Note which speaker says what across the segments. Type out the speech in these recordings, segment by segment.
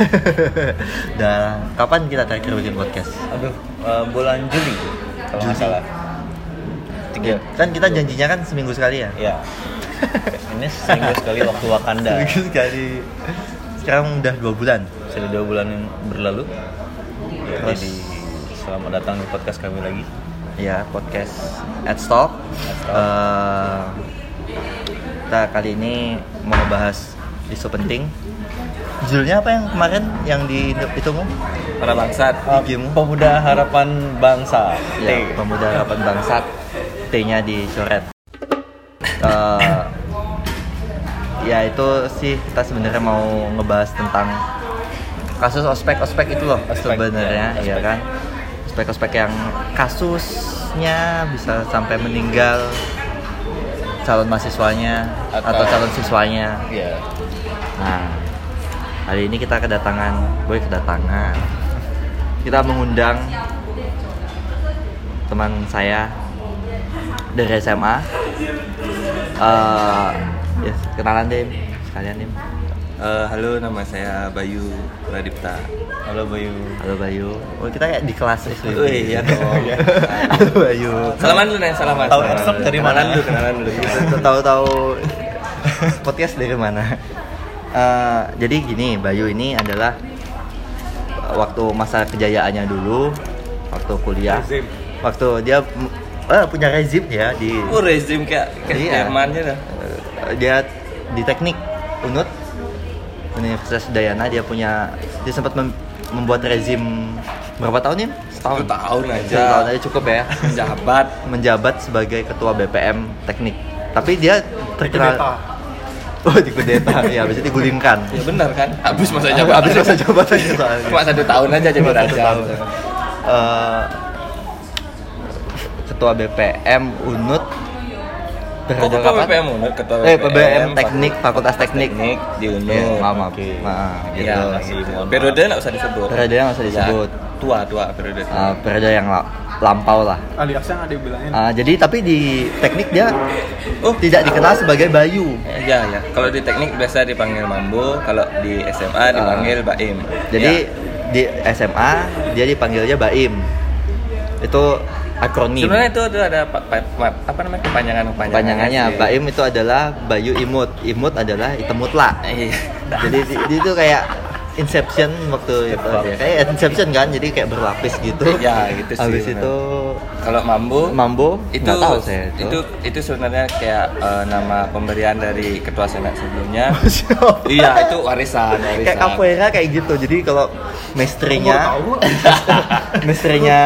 Speaker 1: Udah, kapan kita terakhir bikin podcast?
Speaker 2: Aduh, eh, bulan Juli kalau nggak
Speaker 1: Juli.
Speaker 2: salah. Tiga.
Speaker 1: Kan kita janjinya kan seminggu sekali ya?
Speaker 2: Ya. Ini seminggu sekali waktu Wakanda.
Speaker 1: Seminggu sekali. Sekarang udah dua bulan.
Speaker 2: Sudah dua bulan yang berlalu. Ya,
Speaker 1: Terus-
Speaker 2: Jadi selamat datang di podcast kami lagi.
Speaker 1: Ya, podcast at Stop.
Speaker 2: Stop.
Speaker 1: Eh, kita kali ini mau ngebahas isu penting. Judulnya apa yang kemarin yang di itu mu?
Speaker 2: Para bangsat,
Speaker 1: Eh,
Speaker 2: pemuda harapan bangsa.
Speaker 1: Ya,
Speaker 2: T.
Speaker 1: pemuda harapan bangsat. T-nya dicoret. Eh, ya itu sih kita sebenarnya mau ngebahas tentang kasus ospek-ospek itu loh
Speaker 2: Ospek,
Speaker 1: sebenarnya ya,
Speaker 2: ya, ospek.
Speaker 1: kan. Ospek-ospek yang kasusnya bisa sampai meninggal calon mahasiswanya atau,
Speaker 2: Atau-
Speaker 1: calon siswanya.
Speaker 2: Ya.
Speaker 1: Nah, hari ini kita kedatangan, boy kedatangan. Kita mengundang teman saya dari SMA. Eh, ya, kenalan deh sekalian deh.
Speaker 3: Eh, halo, nama saya Bayu Radipta.
Speaker 2: Halo Bayu.
Speaker 1: Halo Bayu. Oh, kita ya di kelas SWB.
Speaker 3: Wih, iya dong.
Speaker 1: Halo Bayu.
Speaker 3: Salaman dulu nih, salaman.
Speaker 2: Tahu
Speaker 3: Salaman
Speaker 2: abstrak
Speaker 3: dulu.
Speaker 2: dari
Speaker 3: Kenalan
Speaker 2: mana?
Speaker 3: dulu, kenalan dulu.
Speaker 1: Tahu-tahu podcast dari mana? Eh, jadi gini, Bayu ini adalah eh, waktu masa kejayaannya dulu, waktu kuliah,
Speaker 3: Rezim.
Speaker 1: waktu dia mm, eh, punya rezim ya di
Speaker 3: Oh, rezim kayak kayak
Speaker 1: Iya.
Speaker 3: Jermannya dah.
Speaker 1: eh, dia di teknik Unut Universitas Dayana dia punya dia sempat mem- membuat rezim berapa tahun ya? Setahun.
Speaker 3: Satu tahun aja.
Speaker 1: Satu tahun aja cukup ya.
Speaker 3: Jabat.
Speaker 1: menjabat sebagai ketua BPM teknik. Tapi dia terkenal
Speaker 3: Dikudeta.
Speaker 1: Oh, dikudeta. ya, habis itu digulingkan.
Speaker 3: Ya benar kan? Habis masa jabatan.
Speaker 1: Habis masa jabatannya soalnya.
Speaker 3: Cuma satu tahun aja
Speaker 1: Cuma
Speaker 3: jabatan.
Speaker 1: satu tahun. Eh, ketua BPM Unut berada
Speaker 3: Kok ketua
Speaker 1: kapan?
Speaker 3: BPM Unut, ketua
Speaker 1: Eh, PBM teknik, Fakultas Teknik.
Speaker 2: Teknik di Unut.
Speaker 1: Iya, maaf, maaf.
Speaker 2: Oke.
Speaker 1: Maaf, gitu.
Speaker 2: Iya, masih, mohon maaf.
Speaker 3: Periode nggak usah disebut.
Speaker 1: Periode nggak usah disebut.
Speaker 3: Ya, tua, tua periode.
Speaker 1: Eh, periode yang la- lampau lah.
Speaker 4: alias yang ada yang bilangin
Speaker 1: Eh, jadi tapi di teknik dia
Speaker 3: Oh.
Speaker 1: tidak dikenal sebagai Bayu.
Speaker 3: Ya, ya. Kalau di teknik biasa dipanggil Mambo, kalau di SMA dipanggil Iya. Baim.
Speaker 1: Jadi di SMA dia dipanggilnya Baim. Itu akronim.
Speaker 3: Sebenarnya itu Iya, itu ada pa- pa- pa- apa namanya kepanjangan kepanjangan.
Speaker 1: Panjangannya Baim itu adalah Bayu Imut. Imut adalah Itemutla.
Speaker 3: Iya.
Speaker 1: Jadi di- di- itu kayak Inception waktu itu
Speaker 3: Tetap.
Speaker 1: ya. kayak Inception kan jadi kayak berlapis gitu.
Speaker 3: Ya, iya. gitu sih,
Speaker 1: Habis
Speaker 3: benar.
Speaker 1: itu
Speaker 3: Kalau Mambo,
Speaker 1: Mambo
Speaker 3: itu
Speaker 1: nggak tahu saya itu.
Speaker 3: itu itu sebenarnya kayak eh, nama pemberian dari ketua senat sebelumnya.
Speaker 1: Oh, Siapa?
Speaker 3: iya, itu warisan, warisan.
Speaker 1: kayak capoeira kayak gitu jadi kalau mestrinya
Speaker 4: Aku
Speaker 1: mestrinya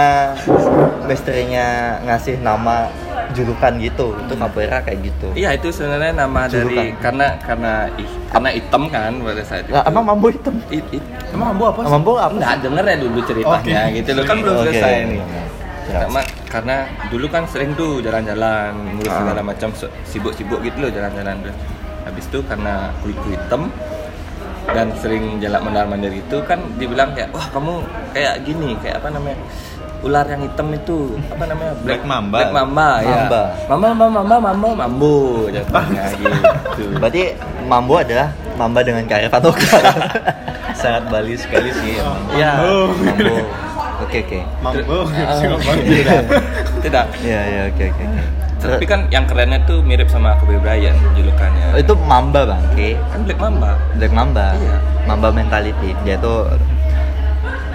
Speaker 1: mestrinya ngasih nama julukan gitu itu capoeira kayak gitu
Speaker 3: Iya, itu sebenarnya nama
Speaker 1: Julukan.
Speaker 3: dari karena karena ih, karena hitam kan pada saat itu.
Speaker 1: lah emang mambo hitam
Speaker 3: It- it-
Speaker 4: emang ambu apa sih?
Speaker 1: mambo apa
Speaker 3: Enggak denger ya dulu ceritanya
Speaker 4: Oke.
Speaker 3: gitu loh kan belum
Speaker 1: Oke.
Speaker 3: selesai nih.
Speaker 1: Ya.
Speaker 3: Sama karena dulu kan sering tuh jalan-jalan ngurus
Speaker 1: Ah.
Speaker 3: segala macam se- sibuk-sibuk gitu loh jalan-jalan terus. Habis itu karena kuliku hitam dan sering jalan mondar mandir itu kan dibilang kayak wah kamu kayak gini kayak apa namanya ular yang hitam itu apa namanya
Speaker 2: Black Mamba.
Speaker 3: black mamba, ya
Speaker 1: Mamba.
Speaker 3: mamba mamba mamba mamba mambo jatuhnya gitu
Speaker 1: berarti mambo adalah mamba dengan karya patokan
Speaker 2: Sangat Bali sekali sih emang.
Speaker 1: ya
Speaker 4: Mambo.
Speaker 1: mambo oke oke
Speaker 4: mambo
Speaker 1: Nah. Iya.
Speaker 3: tidak tidak
Speaker 1: ya ya oke oke oke.
Speaker 3: Tapi kan yang kerennya tuh mirip sama Kobe Bryant julukannya.
Speaker 1: itu mamba bangke
Speaker 3: Kan Black Mamba.
Speaker 1: Black Mamba,
Speaker 3: Iya.
Speaker 1: Mamba mentality, dia itu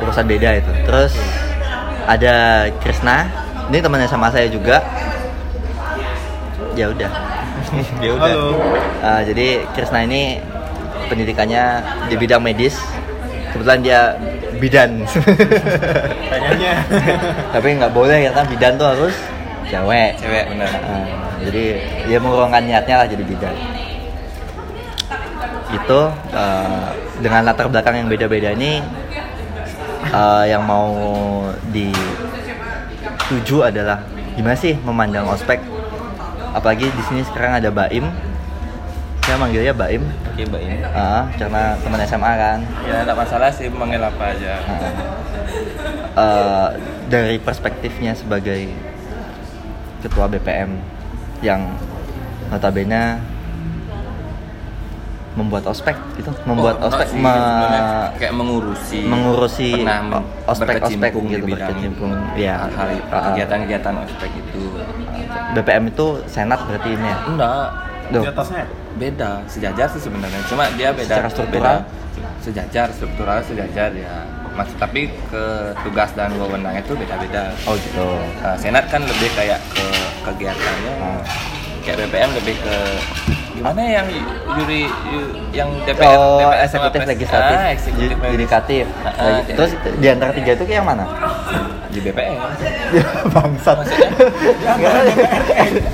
Speaker 1: urusan beda itu. Terus ada Krishna, ini temannya sama saya juga. Ya udah.
Speaker 2: Ya udah.
Speaker 4: halo
Speaker 1: Eh, jadi Krishna ini pendidikannya di bidang medis. Kebetulan dia bidan.
Speaker 4: pengennya
Speaker 1: Tapi nggak boleh karena bidan tuh harus cewek.
Speaker 3: Cewek bener.
Speaker 1: Eh, jadi dia mengurungkan niatnya lah jadi bidan itu eh, dengan latar belakang yang beda-beda ini eh, yang mau dituju adalah gimana sih memandang ospek apalagi di sini sekarang ada Baim saya manggilnya Baim
Speaker 3: Oke, Mbak ini.
Speaker 1: eh, karena teman SMA kan
Speaker 3: Ya enggak masalah sih manggil apa aja.
Speaker 1: Nah, eh, dari perspektifnya sebagai ketua BPM yang notabene membuat ospek gitu, membuat
Speaker 3: Oh, enggak
Speaker 1: ospek
Speaker 3: sih,
Speaker 1: me-
Speaker 3: sebenarnya kayak mengurusi
Speaker 1: mengurusi
Speaker 3: pernah
Speaker 1: o- ospek-ospek
Speaker 3: berkecimpung
Speaker 1: gitu,
Speaker 3: di bidang
Speaker 1: berkecimpung, ya.
Speaker 3: hal-hal itu,
Speaker 1: Ah.
Speaker 3: kegiatan-kegiatan ospek itu
Speaker 1: BPM itu senat berarti ini ya.
Speaker 3: enggak
Speaker 1: Duh,
Speaker 4: Di
Speaker 3: Iya,
Speaker 4: atasnya.
Speaker 3: beda sejajar sih sebenarnya cuma dia beda
Speaker 1: Secara struktural?
Speaker 3: beda. sejajar struktural sejajar ya maksud tapi ke tugas dan wewenangnya itu beda-beda
Speaker 1: oh gitu.
Speaker 3: Nah, senat kan lebih kayak ke kegiatannya
Speaker 1: Hmm.
Speaker 3: kayak BPM lebih ke gimana ya, yang juri yu- yang DPR,
Speaker 1: Oh,
Speaker 3: DPR sama
Speaker 1: eksekutif
Speaker 3: pres-
Speaker 1: legislatif,
Speaker 3: ah, eksekutif
Speaker 1: ju-
Speaker 3: legis-
Speaker 1: yudikatif.
Speaker 3: Ah, ah,
Speaker 1: Legi- Terus di antara tiga itu yang mana?
Speaker 3: di BPR
Speaker 1: Ya, Bangsat.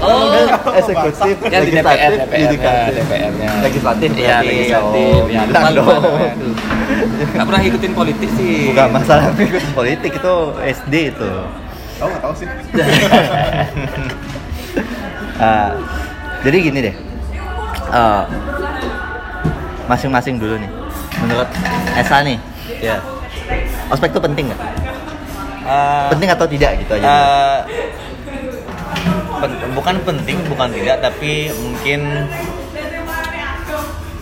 Speaker 3: Oh,
Speaker 1: eksekutif,
Speaker 3: ya di DPR
Speaker 1: legislatif,
Speaker 3: DPR
Speaker 1: yudikatif.
Speaker 3: DPR-nya
Speaker 1: Legislatif
Speaker 3: ya
Speaker 1: berarti.
Speaker 3: legislatif
Speaker 1: Oh,
Speaker 3: ya
Speaker 1: bintang
Speaker 3: lupa, lupa,
Speaker 1: dong.
Speaker 3: lupa, aduh. nggak pernah ikutin politik sih
Speaker 1: Bukan masalah mengikuti politik itu SD itu.
Speaker 4: Tahu nggak tahu sih?
Speaker 1: Eh, jadi gini deh. Eh, masing-masing dulu nih. Menurut Esa nih,
Speaker 2: Ya.
Speaker 1: ospek itu penting nggak?
Speaker 2: Eh,
Speaker 1: Penting atau tidak gitu aja.
Speaker 3: Ah.
Speaker 1: dulu.
Speaker 2: Eh, pen- bukan penting, bukan tidak, tapi mungkin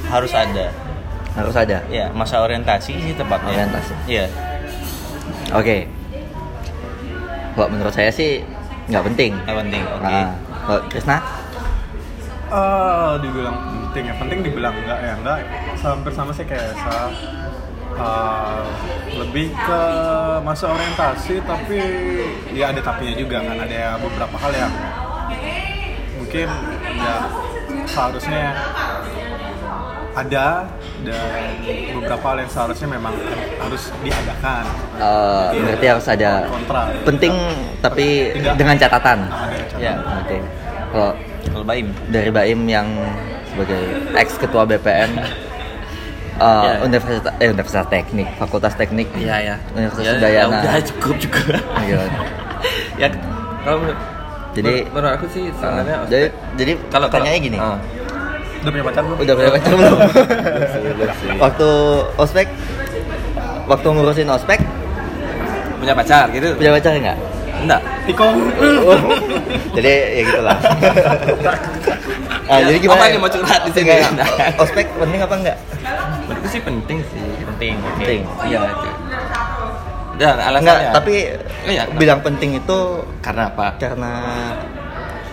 Speaker 2: harus ada.
Speaker 1: Harus ada.
Speaker 3: Iya.
Speaker 2: Ya, masa orientasi sih tepatnya.
Speaker 1: Orientasi.
Speaker 2: Iya.
Speaker 1: Oke. Kalau menurut saya sih nggak penting.
Speaker 2: Nggak penting, oke.
Speaker 1: Ah, Kalau Krisna?
Speaker 4: Eh, dibilang penting ya, penting dibilang enggak ya enggak. Hampir sama sih kayak Esa. Eh, lebih ke masa orientasi tapi ya ada tapinya juga kan ada beberapa hal yang mungkin ya seharusnya ada dan beberapa hal yang seharusnya memang harus diadakan
Speaker 1: Eh, berarti harus ada
Speaker 4: Kontra.
Speaker 1: penting tapi
Speaker 4: Tidak.
Speaker 1: dengan catatan.
Speaker 4: Nah, ada cara.
Speaker 2: Ya.
Speaker 1: Oke. Kalau
Speaker 2: Kalau Baim.
Speaker 1: dari Baim yang sebagai ex ketua BPN eh,
Speaker 2: Ya.
Speaker 1: Universitas eh Universitas Teknik, Fakultas Teknik.
Speaker 3: Iya ya.
Speaker 1: Universitas
Speaker 3: ya,
Speaker 1: Udayana.
Speaker 3: udah cukup juga.
Speaker 1: Iya.
Speaker 3: ya kalau menurut-
Speaker 1: Jadi
Speaker 3: menurut- menurut aku sih sebenarnya
Speaker 1: eh, jadi jadi kalau pertanyaannya gini.
Speaker 3: Ah.
Speaker 4: udah punya pacar belum?
Speaker 1: Udah punya pacar belum? waktu ospek waktu ngurusin ospek
Speaker 3: punya pacar gitu.
Speaker 1: punya pacar nggak?
Speaker 3: Enggak.
Speaker 4: tikung
Speaker 1: jadi ya gitulah. Ah,
Speaker 3: Ya,
Speaker 1: jadi gimana?
Speaker 3: apa nih, mau curhat di sini?
Speaker 1: Enggak, enggak. ospek penting apa enggak?
Speaker 3: Menurutku sih penting sih.
Speaker 2: Penting,
Speaker 1: Penting.
Speaker 3: Iya itu. Dan alasannya.
Speaker 1: Enggak, tapi
Speaker 3: Iya, kenapa?
Speaker 1: bilang penting itu
Speaker 3: karena apa?
Speaker 1: karena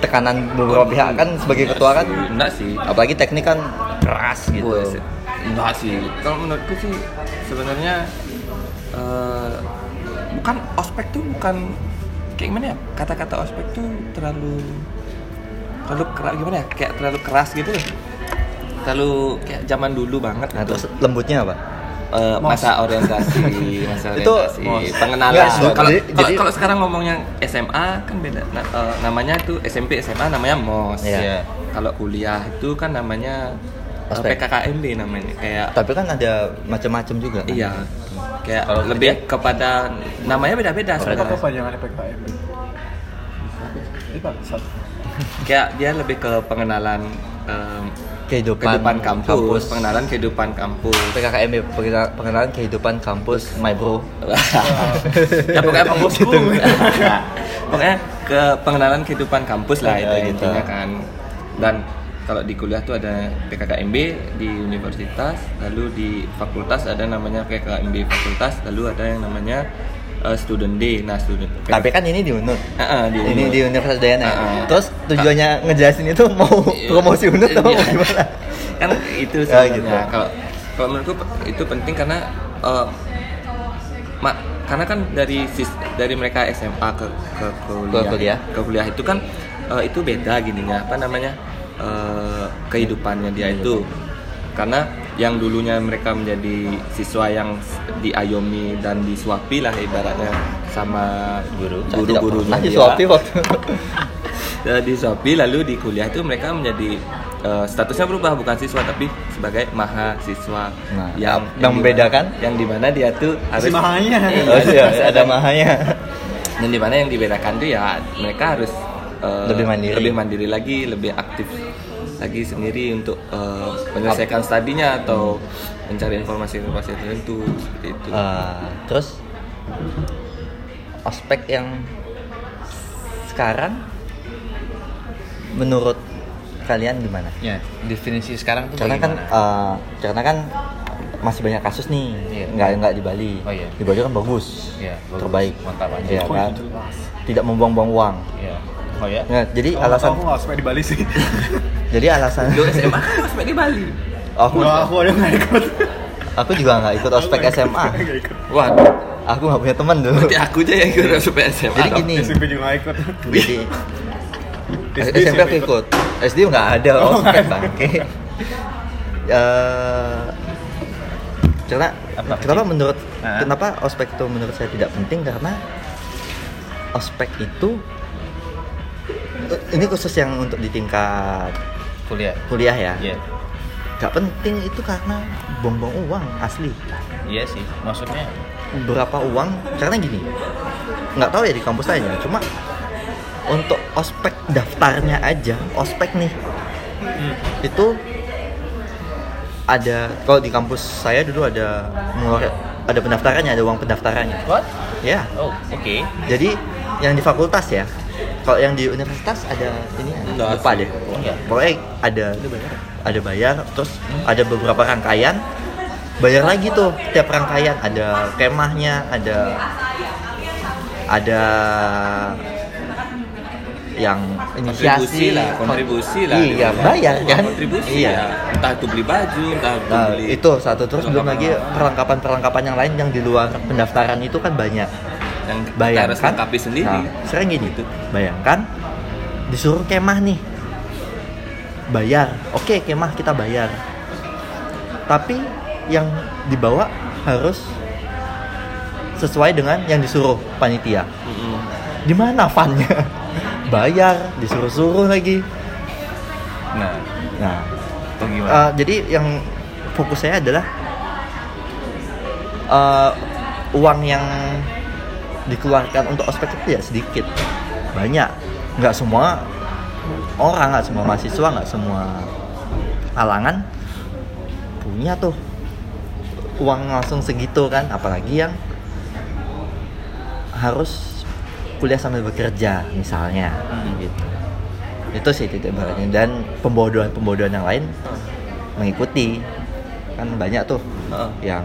Speaker 1: tekanan beberapa pihak kan sebagai ketua kan
Speaker 3: Enggak sih.
Speaker 1: apalagi teknik kan keras gitu.
Speaker 3: Gua sih- Enggak sih. Kalau menurutku sih sebenarnya eh, bukan ospek tuh bukan kayak gimana ya? Kata-kata ospek tuh terlalu terlalu keras gimana ya? Kayak terlalu keras gitu loh. Terlalu kayak zaman dulu banget
Speaker 1: Nah,
Speaker 3: gitu.
Speaker 1: terus lembutnya apa?
Speaker 3: Eh, masa orientasi, masa
Speaker 1: Itu
Speaker 3: orientasi,
Speaker 1: mos.
Speaker 3: pengenalan.
Speaker 1: Nggak,
Speaker 3: Kalau- Kalau
Speaker 1: jadi-
Speaker 3: kalau
Speaker 1: jadi-
Speaker 3: kalau sekarang ngomongnya SMA kan beda. Nah, eh, namanya tuh SMP SMA namanya mos.
Speaker 1: Iya.
Speaker 3: ya. Kalau kuliah itu kan namanya eh,
Speaker 1: Ospek.
Speaker 3: PKKMB namanya kayak
Speaker 1: Tapi kan ada macam-macam juga. kan?
Speaker 3: iya kayak
Speaker 2: Kalau
Speaker 3: lebih kepada namanya beda-beda
Speaker 4: apa
Speaker 3: sebenarnya.
Speaker 4: kepanjangan PKM? Ini bangsat.
Speaker 3: Kayak dia lebih ke pengenalan em,
Speaker 1: Kehidupan,
Speaker 3: kehidupan kampus, pengenalan kehidupan kampus.
Speaker 1: PKKMB pengenalan- pengenalan ya, kehidupan kampus my bro
Speaker 3: ya pokoknya kampus
Speaker 1: Gitu.
Speaker 3: pokoknya ke pengenalan kehidupan kampus lah
Speaker 1: Ya,
Speaker 3: itu
Speaker 1: gitu.
Speaker 3: intinya kan dan kalau di kuliah tuh ada PKKMB di universitas lalu di fakultas ada namanya PKKMB fakultas lalu ada yang namanya eh, student day nah student
Speaker 1: tapi kan ini di UNUD
Speaker 3: Ah, ah, di
Speaker 1: ini
Speaker 3: Unut.
Speaker 1: di Universitas Dayana ya?
Speaker 3: Ah, ah.
Speaker 1: terus tujuannya ngejelasin itu mau promosi UNUD atau mau
Speaker 3: Iya.
Speaker 1: gimana
Speaker 3: kan itu
Speaker 1: Ya,
Speaker 3: sebenarnya
Speaker 1: gitu.
Speaker 3: kalau kalau menurutku pe- itu penting karena eh, ma- karena kan dari sis- dari mereka SMA ke ke kuliah
Speaker 1: Ke kuliah.
Speaker 3: ke kuliah itu kan eh, itu beda gininya apa namanya eh, kehidupannya dia itu karena yang dulunya mereka menjadi siswa yang s- diayomi dan disuapi lah ibaratnya sama guru Iya. guru-gurunya
Speaker 1: lagi
Speaker 3: dia.
Speaker 1: suapi waktu
Speaker 3: Eh, di Shopee lalu di kuliah itu mereka menjadi eh, statusnya berubah bukan siswa tapi sebagai mahasiswa
Speaker 1: Nah,
Speaker 3: yang
Speaker 1: yang membedakan?
Speaker 3: dimana- yang dimana dia tuh harus
Speaker 4: Si mahanya.
Speaker 3: Iya,
Speaker 1: oh iya
Speaker 3: harus
Speaker 1: ada mahanya
Speaker 3: dan dimana yang dibedakan tuh ya mereka harus eh,
Speaker 1: Lebih mandiri.
Speaker 3: lebih mandiri lagi lebih aktif lagi sendiri untuk eh, menyelesaikan studinya atau mencari informasi-informasi tertentu seperti itu
Speaker 1: Eh, terus ospek yang sekarang menurut kalian gimana?
Speaker 2: Ya, definisi sekarang tuh
Speaker 1: Karena kan
Speaker 2: bagaimana?
Speaker 1: eh, karena kan masih banyak kasus nih,
Speaker 2: Iya.
Speaker 1: nggak nggak di Bali.
Speaker 2: Oh, iya.
Speaker 1: Di Bali kan bagus,
Speaker 2: Iya, bagus.
Speaker 1: terbaik,
Speaker 2: Mantap aja.
Speaker 1: Iya
Speaker 4: Oh,
Speaker 1: kan?
Speaker 4: jelas.
Speaker 1: Tidak membuang-buang uang.
Speaker 2: Iya. Oh ya.
Speaker 1: Nah, jadi
Speaker 4: Kalau
Speaker 1: alasan,
Speaker 4: aku nggak ospek di Bali sih.
Speaker 1: jadi alasan.
Speaker 3: Lu SMA kan ospek di Bali.
Speaker 1: aku,
Speaker 4: Wah, aku aja nggak ikut.
Speaker 1: aku juga nggak ikut ospek
Speaker 4: Aku nggak ikut,
Speaker 1: SMA.
Speaker 4: nggak ikut.
Speaker 3: Waduh,
Speaker 1: Aku nggak punya teman dulu.
Speaker 3: berarti aku aja yang ikut ospek SMA.
Speaker 1: Jadi
Speaker 3: dong.
Speaker 1: gini,
Speaker 4: SMP juga nggak ikut.
Speaker 1: jadi
Speaker 4: SD
Speaker 1: SMP aku
Speaker 4: siapa
Speaker 1: Eh, ikut. SD nggak ada
Speaker 4: Oh,
Speaker 1: ospek
Speaker 4: nggak ada.
Speaker 1: bangke. Eh, karena
Speaker 2: Apa?
Speaker 1: kenapa menurut
Speaker 4: Ah.
Speaker 2: Hah?
Speaker 1: kenapa ospek itu menurut saya tidak penting karena ospek itu ini khusus yang untuk di tingkat
Speaker 2: Kuliah.
Speaker 1: kuliah ya.
Speaker 2: Iya.
Speaker 1: Gak penting itu karena bongbong uang asli.
Speaker 2: Iya sih. Maksudnya
Speaker 1: berapa uang karena gini nggak tahu ya di kampus lain ya cuma untuk ospek daftarnya aja ospek nih itu ada kalau di kampus saya dulu ada mengeluar- ada pendaftarannya ada uang pendaftarannya
Speaker 2: what?
Speaker 1: ya
Speaker 2: Oh, oke.
Speaker 1: jadi yang di fakultas ya kalau yang di universitas ada ini ya?
Speaker 3: Nggak
Speaker 1: lupa
Speaker 3: sih.
Speaker 1: deh
Speaker 2: Iya.
Speaker 1: pokoknya ada ada bayar terus ada beberapa rangkaian bayar lagi tuh tiap rangkaian ada kemahnya ada ada yang
Speaker 3: kontribusi
Speaker 1: inisiasi
Speaker 3: lah, kontribusi lah.
Speaker 1: iya
Speaker 3: Dia.
Speaker 1: bayar kan
Speaker 3: Kontribusi
Speaker 1: iya
Speaker 3: ya. Entah itu beli baju, entah itu
Speaker 1: Nah,
Speaker 3: beli
Speaker 1: itu satu terus belum lagi
Speaker 3: perlengkapan-perlengkapan.
Speaker 1: perlengkapan-perlengkapan yang lain yang di luar pendaftaran itu kan banyak
Speaker 3: yang kita harus
Speaker 1: bayangkan
Speaker 3: lengkapi sendiri.
Speaker 1: Nah, sering gini
Speaker 3: Gitu.
Speaker 1: bayangkan disuruh kemah nih bayar oke kemah kita bayar tapi yang dibawa harus sesuai dengan yang disuruh panitia
Speaker 3: Mm-mm.
Speaker 1: di mana funnya bayar disuruh-suruh lagi
Speaker 2: Nah,
Speaker 1: nah
Speaker 2: itu gimana?
Speaker 1: eh, jadi yang fokus saya adalah eh, uang yang dikeluarkan untuk ospek itu ya sedikit banyak nggak semua orang nggak semua mahasiswa nggak semua halangan punya tuh uang langsung segitu kan apalagi yang harus kuliah sambil bekerja misalnya
Speaker 3: Hmm.
Speaker 1: gitu itu sih titik baliknya dan pembodohan pembodohan yang lain mengikuti kan banyak tuh
Speaker 3: Heeh.
Speaker 1: yang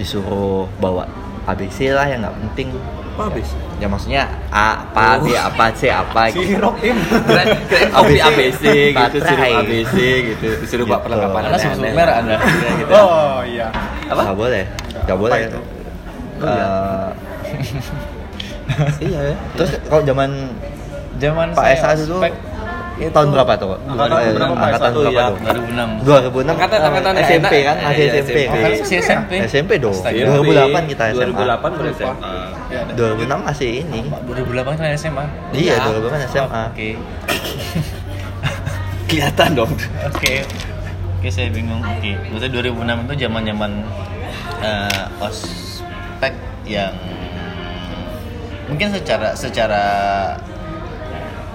Speaker 1: disuruh bawa ABC lah yang nggak penting
Speaker 3: Apa habis?
Speaker 1: ya maksudnya A apa B apa C apa gitu
Speaker 4: Sirup im.
Speaker 3: Keren- keren Oh. kopi ABC gitu, sirup
Speaker 1: Baterai.
Speaker 3: ABC gitu, disuruh bawa
Speaker 1: Gitu.
Speaker 3: perlengkapan
Speaker 2: Karena
Speaker 3: aneh-aneh.
Speaker 2: sebelum merah Anda. Gitu.
Speaker 4: Oh iya.
Speaker 3: Apa?
Speaker 1: nggak boleh nggak
Speaker 4: Apa
Speaker 1: boleh
Speaker 4: itu?
Speaker 1: Eh,
Speaker 3: Iya ya.
Speaker 1: terus kalau zaman
Speaker 2: Zaman
Speaker 1: Pak
Speaker 2: saya
Speaker 1: SA dulu
Speaker 2: ospek
Speaker 1: tahun berapa tuh?
Speaker 4: Angkatan
Speaker 1: Eh,
Speaker 4: berapa,
Speaker 1: angkatan
Speaker 4: Pak?
Speaker 1: berapa
Speaker 3: Iya,
Speaker 1: tuh?
Speaker 2: 2006.
Speaker 1: 2006
Speaker 3: Angkatan- angkatan
Speaker 1: SMP
Speaker 3: enak.
Speaker 1: kan masih
Speaker 3: Iya,
Speaker 1: SMP
Speaker 3: SMP.
Speaker 2: Kalau si SMP.
Speaker 1: SMP dong.
Speaker 3: Iya.
Speaker 2: Astaga.
Speaker 1: 2008 kita SMA.
Speaker 3: 2008 baru SMA.
Speaker 4: Ya, ada.
Speaker 1: 2006 masih ini
Speaker 2: 2008 kan SMA.
Speaker 1: iya 2008 SMA
Speaker 2: Oke.
Speaker 3: Kelihatan dong.
Speaker 2: Oke. Oke, saya bingung. Oke. Berarti 2006 itu zaman-zaman eh, ospek yang mungkin secara secara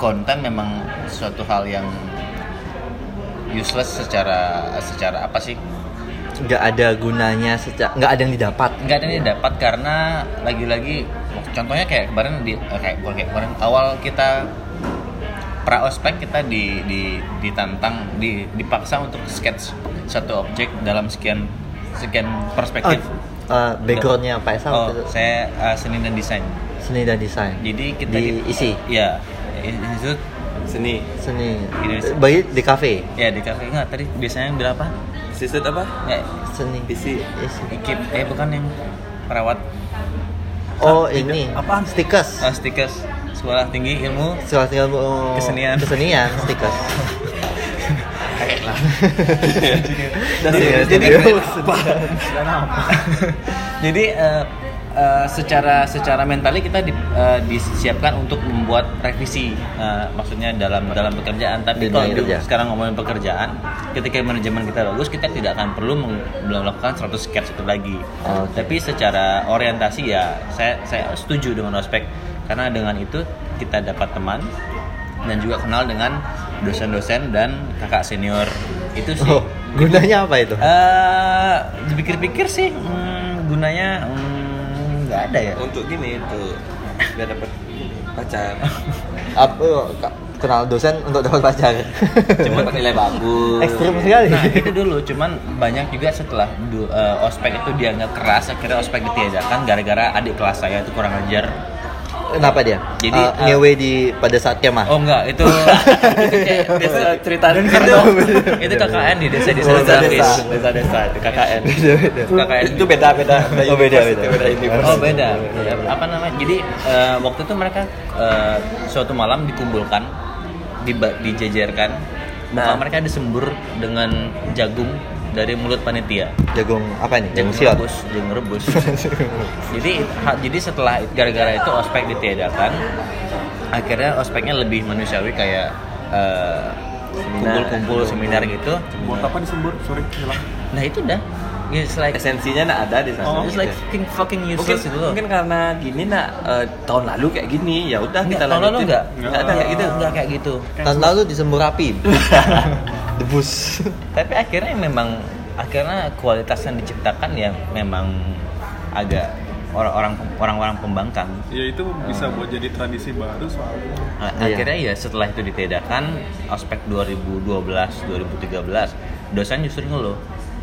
Speaker 2: konten memang suatu hal yang useless secara secara apa sih
Speaker 1: nggak ada gunanya sejak nggak ada yang didapat Iya.
Speaker 2: nggak ada yang dapat karena lagi-lagi contohnya kayak kemarin di eh, kayak bukan kayak kemarin awal kita pra ospek kita di, di ditantang di, dipaksa untuk sketch satu objek dalam sekian sekian
Speaker 1: Oh,
Speaker 2: perspektif.
Speaker 1: eh, backgroundnya Pak Esa
Speaker 2: Oh,
Speaker 1: waktu itu
Speaker 2: saya eh, seni dan desain.
Speaker 1: seni dan desain
Speaker 2: Jadi kita
Speaker 1: diisi
Speaker 2: Iya, itu
Speaker 3: Seni.
Speaker 1: seni
Speaker 2: Indonesia.
Speaker 1: bagi di kafe
Speaker 2: ya di kafe nggak tadi biasanya yang bilang apa?
Speaker 3: Sistut apa?
Speaker 2: Nggak,
Speaker 1: seni
Speaker 3: Isi.
Speaker 1: Isi.
Speaker 2: ikip eh bukan yang perawat
Speaker 1: oh ini
Speaker 2: Apaan?
Speaker 1: stikers
Speaker 2: eh, stikers sekolah tinggi ilmu
Speaker 1: sekolah tinggal oh,
Speaker 2: Kesenian.
Speaker 1: kesenian stikers
Speaker 3: Dan
Speaker 1: Iya,
Speaker 3: jadi
Speaker 1: jadi-
Speaker 3: kenapa?
Speaker 2: Jadi eh, eh, secara secara mentalnya kita di- eh, disiapkan untuk membuat revisi, eh, maksudnya dalam dalam pekerjaan.
Speaker 1: Di
Speaker 2: Tapi kalau
Speaker 1: dunia
Speaker 2: di-
Speaker 1: kerja.
Speaker 2: sekarang ngomongin pekerjaan, ketika manajemen kita bagus, kita tidak akan perlu meng- melakukan 100 sketch itu lagi.
Speaker 1: Oke.
Speaker 2: Tapi secara orientasi ya, saya saya setuju dengan ospek karena dengan itu kita dapat teman dan juga kenal dengan dosen-dosen dan kakak senior itu sih.
Speaker 1: oh gunanya apa itu
Speaker 2: Eh, dipikir-pikir sih hmm, gunanya hmm, nggak ada ya.
Speaker 3: Untuk gini tuh biar dapat pacar.
Speaker 1: apa ka- kenal dosen untuk dapat pacar.
Speaker 3: Cuma dapat nilai bagus.
Speaker 1: Ekstrim sekali.
Speaker 2: Nah itu dulu, cuman banyak juga setelah du- eh, ospek itu dia nggak keras, akhirnya ospek ditiadakan gara-gara adik kelas saya itu kurang ajar.
Speaker 1: Kenapa dia?
Speaker 2: Jadi,
Speaker 1: Eh,
Speaker 2: eh,
Speaker 1: ngewe di pada saat kemah.
Speaker 2: Oh enggak, itu itu kayak desa cerita
Speaker 4: Dan
Speaker 2: itu itu KKN di desa desa
Speaker 1: Desa-desa.
Speaker 2: desa desa desa itu KKN KKN
Speaker 3: Itu beda beda.
Speaker 1: Oh, beda, beda.
Speaker 3: university.
Speaker 2: Oh beda. Ya, Apa namanya? Jadi eh, waktu itu mereka eh, suatu malam dikumpulkan, diba- dijajarkan. Nah.
Speaker 3: Nah.
Speaker 2: mereka disembur dengan jagung dari mulut panitia.
Speaker 1: Jagung apa nih? Jagung siot.
Speaker 2: Jagung rebus, jagung rebus. jadi ha- jadi setelah gara-gara itu ospek ditiadakan, akhirnya ospeknya lebih manusiawi kayak eh, kumpul-kumpul seminar gitu.
Speaker 4: buat apa disembur sorry hilang
Speaker 2: Nah itu dah. It's like
Speaker 3: Esensinya nak ada di sana.
Speaker 4: Oh,
Speaker 2: it's like fucking fucking
Speaker 3: Gitu. mungkin
Speaker 2: useless itu loh.
Speaker 3: mungkin karena gini nak eh, tahun lalu kayak gini ya udah kita
Speaker 2: Enggak, tahun lalu
Speaker 3: lanjutin.
Speaker 2: enggak?
Speaker 3: Enggak ada kayak gitu.
Speaker 2: Enggak kayak gitu.
Speaker 1: Tahun lalu disembur api. Debus.
Speaker 2: Tapi akhirnya memang akhirnya kualitas yang diciptakan ya memang agak orang-orang orang-orang pembangkang.
Speaker 4: ya itu bisa buat jadi tradisi baru soalnya
Speaker 2: Nah,
Speaker 1: Iya.
Speaker 2: Akhirnya ya setelah itu ditiadakan ospek 2012 2013 dosen justru ngeluh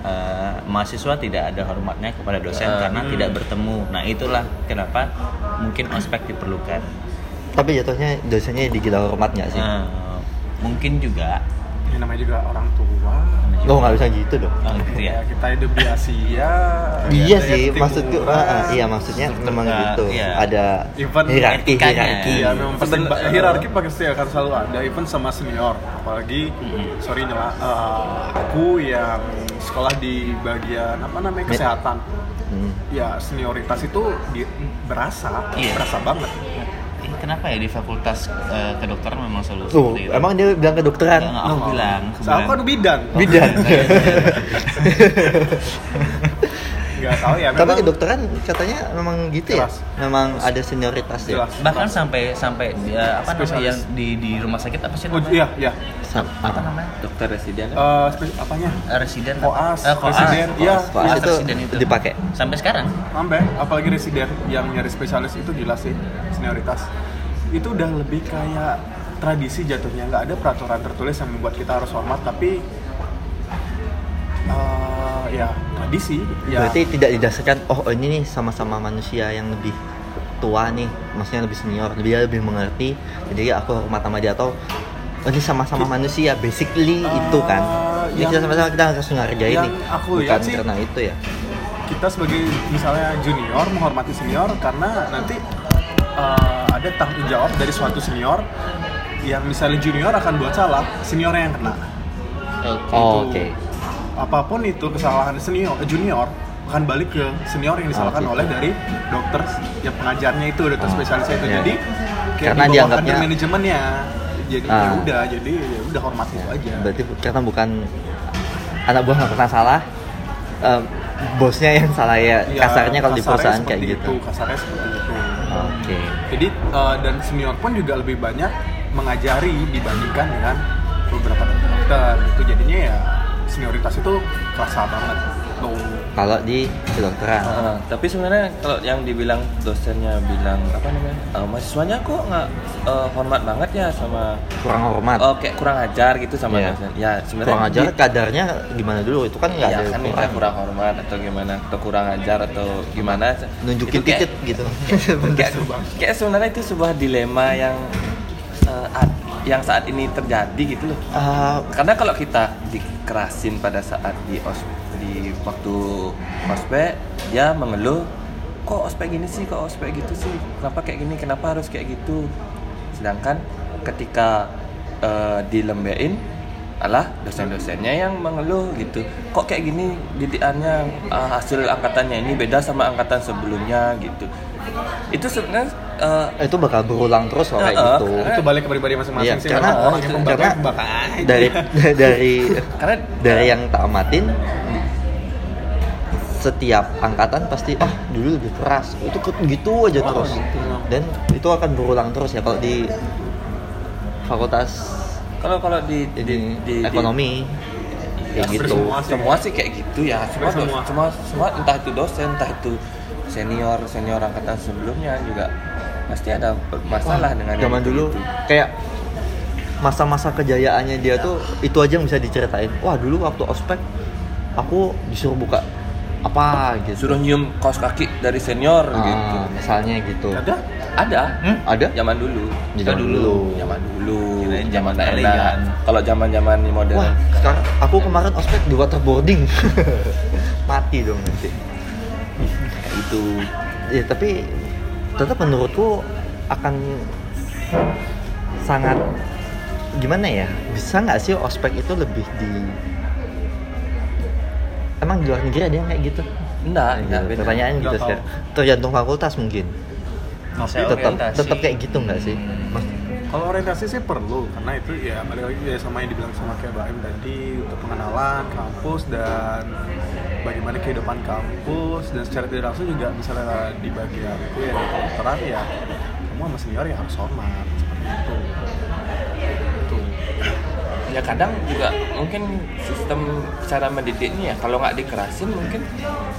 Speaker 2: eh, mahasiswa tidak ada hormatnya kepada dosen
Speaker 4: Ah.
Speaker 3: Eh,
Speaker 2: karena
Speaker 4: Hmm.
Speaker 2: tidak bertemu. Nah itulah kenapa mungkin ospek diperlukan.
Speaker 1: Tapi jatuhnya dosennya digila hormat nggak sih?
Speaker 2: Eh, mungkin juga.
Speaker 4: ya namanya juga orang tua
Speaker 1: Lo nggak bisa gitu dong.
Speaker 2: Oh, gitu ya.
Speaker 4: ya kita hidup di Asia
Speaker 1: Iya
Speaker 4: ada
Speaker 1: sih,
Speaker 4: yang
Speaker 1: maksudku,
Speaker 4: ketimuran.
Speaker 1: ah, ah, iya maksudnya
Speaker 2: Struktur,
Speaker 1: memang
Speaker 2: ah,
Speaker 1: gitu.
Speaker 2: iya.
Speaker 1: Ada
Speaker 4: Even
Speaker 1: hierarki,
Speaker 2: etikanya.
Speaker 1: hierarki.
Speaker 4: Iya, memang pasti
Speaker 3: Even,
Speaker 4: ba-
Speaker 3: eh,
Speaker 4: hierarki pasti akan selalu ada, even sama senior. Apalagi, sorry nyela, eh, aku yang sekolah di bagian apa namanya
Speaker 1: Med-
Speaker 4: kesehatan.
Speaker 1: Hmm.
Speaker 4: Ya senioritas itu di- berasa,
Speaker 2: Iya.
Speaker 4: berasa banget.
Speaker 2: Ih, kenapa ya di fakultas eh, kedokteran memang
Speaker 1: Tuh,
Speaker 2: selalu
Speaker 4: Oh,
Speaker 2: seperti itu?
Speaker 4: iya.
Speaker 1: emang dia bilang ke dokteran.
Speaker 2: Enggak, aku bilang. aku
Speaker 4: Soalnya aku
Speaker 2: bilang.
Speaker 4: kan bidan,
Speaker 1: Bidan.
Speaker 4: nggak tahu ya.
Speaker 1: Tapi
Speaker 4: memang-
Speaker 1: kedokteran katanya memang gitu ya.
Speaker 4: Jelas.
Speaker 1: Memang ada senioritas ya.
Speaker 4: Jelas.
Speaker 2: bahkan sampai sampai dia apa namanya
Speaker 4: Spesialis.
Speaker 2: yang di di rumah sakit apa sih
Speaker 4: Oh,
Speaker 2: namanya?
Speaker 4: iya, iya.
Speaker 1: Sam- ah.
Speaker 2: Apa
Speaker 1: apa?
Speaker 2: namanya?
Speaker 3: Dokter residen.
Speaker 4: Eh, spe- apanya?
Speaker 2: Eh, Residen.
Speaker 4: Koas,
Speaker 2: Eh, koas.
Speaker 4: residen, iya.
Speaker 2: Koas, koas,
Speaker 1: Itu
Speaker 2: residen itu.
Speaker 1: dipakai?
Speaker 2: Sampai sekarang.
Speaker 4: Sampai, apalagi residen yang nyari spesialis itu gila sih senioritas. Itu udah lebih kayak tradisi jatuhnya, nggak ada peraturan tertulis yang membuat kita harus hormat, tapi eh, ya tradisi. Ya,
Speaker 1: Berarti tidak didasarkan oh ini nih sama-sama manusia yang lebih tua nih, maksudnya lebih senior, lebih dia lebih mengerti. Jadi ya aku hormat sama dia atau oh, ini sama-sama manusia basically
Speaker 4: Ah,
Speaker 1: itu kan. Jadi
Speaker 4: yang-
Speaker 1: kita sama-sama kita harus menghargai
Speaker 4: yang
Speaker 1: nih.
Speaker 4: aku
Speaker 1: Bukan
Speaker 4: lihat sih-
Speaker 1: karena itu ya.
Speaker 4: kita sebagai misalnya junior menghormati senior karena nanti eh, ada tanggung jawab dari suatu senior yang misalnya junior akan buat salah, seniornya yang kena.
Speaker 1: Oh,
Speaker 4: Itu
Speaker 1: Oke.
Speaker 4: Gitu. Apapun itu kesalahan senior eh, junior akan balik ke senior yang disalahkan
Speaker 1: Oh, gitu.
Speaker 4: oleh dari dokter yang pengajarnya itu dokter
Speaker 1: Oh.
Speaker 4: spesialisnya itu.
Speaker 1: Iya.
Speaker 4: Jadi
Speaker 1: Karena
Speaker 4: kayak di bawah
Speaker 1: dianggapnya-
Speaker 4: under manajemennya. Jadi
Speaker 1: Ah.
Speaker 4: ya udah, jadi ya udah hormati itu aja.
Speaker 1: Berarti bu- karena bukan anak buah nggak pernah salah, em, bosnya yang salah ya.
Speaker 3: Iya,
Speaker 4: Ya,
Speaker 1: kasarnya kalau di perusahaan kayak
Speaker 4: seperti
Speaker 1: gitu.
Speaker 4: itu, kasarnya seperti itu.
Speaker 1: Oke.
Speaker 4: Jadi eh, dan senior pun juga lebih banyak mengajari dibandingkan dengan beberapa dokter. Itu jadinya ya senioritas itu kerasa banget. Tuh.
Speaker 1: Kalau di kedokteran.
Speaker 3: Heeh, Ah, tapi sebenarnya kalau yang dibilang dosennya bilang apa namanya eh, mahasiswanya kok nggak eh, hormat banget ya sama
Speaker 1: kurang hormat.
Speaker 3: oh kayak kurang ajar gitu sama
Speaker 1: Iya.
Speaker 3: dosen ya sebenarnya
Speaker 1: kurang ajar
Speaker 3: di-
Speaker 1: kadarnya gimana dulu itu kan nggak
Speaker 3: ya
Speaker 1: ada
Speaker 3: kan kita
Speaker 1: ukuran.
Speaker 3: kurang hormat atau gimana atau kurang ajar atau gimana
Speaker 1: nunjukin
Speaker 3: Itu kayak-
Speaker 1: titik gitu
Speaker 3: kayak, kayak sebenarnya itu sebuah dilema yang eh, ad- yang saat ini terjadi gitu loh
Speaker 1: Ah,
Speaker 3: karena kalau kita dikerasin pada saat di os di waktu ospek dia mengeluh kok ospek gini sih kok ospek gitu sih kenapa kayak gini kenapa harus kayak gitu sedangkan ketika eh, dilembein alah dosen-dosennya yang mengeluh gitu kok kayak gini didikannya ah, hasil angkatannya ini beda sama angkatan sebelumnya gitu itu sebenarnya eh,
Speaker 1: itu bakal berulang terus loh kayak
Speaker 3: Heeh,
Speaker 1: gitu
Speaker 4: itu balik ke pribadi masing-masing
Speaker 1: Iya,
Speaker 4: sih
Speaker 1: karena
Speaker 4: memang orang yang pembatas
Speaker 1: karena
Speaker 4: bakal aja.
Speaker 1: dari dari
Speaker 3: karena
Speaker 1: dari yang tak amatin setiap angkatan pasti ah dulu lebih keras itu ke- gitu
Speaker 3: Oh,
Speaker 1: aja terus dan itu akan berulang terus ya kalau di fakultas
Speaker 3: kalau kalau di, di,
Speaker 1: di,
Speaker 3: di- di-
Speaker 1: ekonomi kayak
Speaker 3: Ya,
Speaker 4: hampir
Speaker 1: gitu
Speaker 4: semua. sih.
Speaker 3: semua sih kayak gitu ya semua
Speaker 4: Hampir
Speaker 3: semua.
Speaker 4: semua.
Speaker 3: semua semua entah itu dosen entah itu senior senior angkatan sebelumnya juga pasti ada masalah dengan yang
Speaker 1: zaman dulu
Speaker 3: gitu.
Speaker 1: kayak masa-masa kejayaannya dia tuh itu aja yang bisa diceritain wah dulu waktu ospek aku disuruh buka apa gitu
Speaker 3: Suruh nyium kaos kaki dari senior
Speaker 1: Ah,
Speaker 3: gitu.
Speaker 1: misalnya gitu
Speaker 4: ada
Speaker 3: Ada. Ya,
Speaker 1: Hmm, ada
Speaker 3: Zaman dulu.
Speaker 1: Zaman dulu.
Speaker 3: Zaman dulu.
Speaker 2: Kirain zaman
Speaker 3: Zaman
Speaker 2: kalian.
Speaker 3: kalian. Kalau zaman-zaman modern.
Speaker 1: wah sekarang aku kemarin ospek di waterboarding mati dong nanti
Speaker 3: kayak gitu. itu.
Speaker 1: ya tapi tetap menurutku akan sangat gimana ya bisa nggak sih ospek itu lebih di emang di luar negeri ada yang kayak gitu
Speaker 3: Enggak, enggak.
Speaker 1: Pertanyaannya
Speaker 3: beda.
Speaker 1: pertanyaan
Speaker 4: Nggak
Speaker 1: gitu
Speaker 4: tahu.
Speaker 1: sekarang tergantung fakultas mungkin
Speaker 2: Masa
Speaker 1: tetap
Speaker 2: orientasi.
Speaker 1: tetap kayak gitu nggak sih Mas,
Speaker 4: kalau orientasi sih perlu karena itu ya balik lagi ya sama yang dibilang sama kayak Baim tadi untuk pengenalan kampus dan bagaimana kehidupan kampus dan secara tidak langsung juga misalnya di bagian aku ya di kedokteran ya kamu sama senior ya harus hormat seperti itu itu
Speaker 3: ya kadang juga mungkin sistem cara mendidiknya ya kalau nggak dikerasin mungkin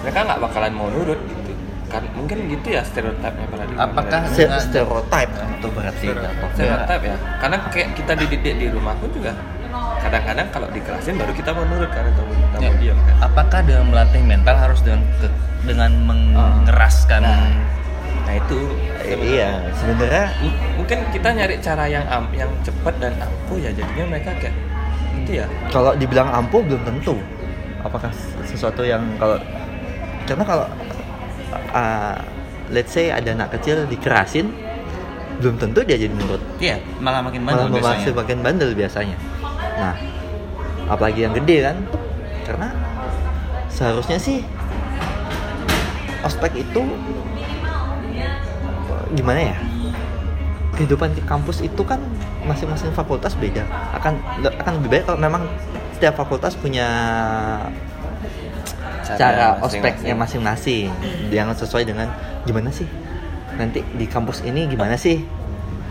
Speaker 3: mereka nggak bakalan mau nurut gitu kan mungkin gitu ya stereotipnya paradigma
Speaker 2: Apakah
Speaker 3: paradigma.
Speaker 1: se-
Speaker 2: dengan-
Speaker 1: stereotype itu berarti jatuhnya.
Speaker 3: stereotip ya karena kayak kita dididik di rumah pun juga kadang-kadang kalau dikerasin baru kita mau nurut karena kita mau- kita
Speaker 2: Ya.
Speaker 3: mau diam kan
Speaker 2: Apakah dalam melatih mental harus dengan ke- dengan mengeraskan
Speaker 3: nah itu
Speaker 1: Eh, iya sebenarnya
Speaker 3: M- mungkin kita nyari cara yang am- yang cepat dan ampuh ya jadinya mereka kayak gitu ya
Speaker 1: kalau dibilang ampuh belum tentu apakah sesuatu yang kalau karena kalau uh, let's say ada anak kecil dikerasin belum tentu dia jadi menurut
Speaker 2: Iya, malah makin
Speaker 1: malah
Speaker 2: bandel
Speaker 1: memaksa
Speaker 2: biasanya.
Speaker 1: bagian bandel biasanya nah apalagi yang gede kan karena seharusnya sih ospek itu uh, gimana ya kehidupan di kampus itu kan masing-masing fakultas beda akan le- akan lebih baik kalau memang setiap fakultas punya cara ospeknya masing-masing yang sesuai dengan gimana sih nanti di kampus ini gimana sih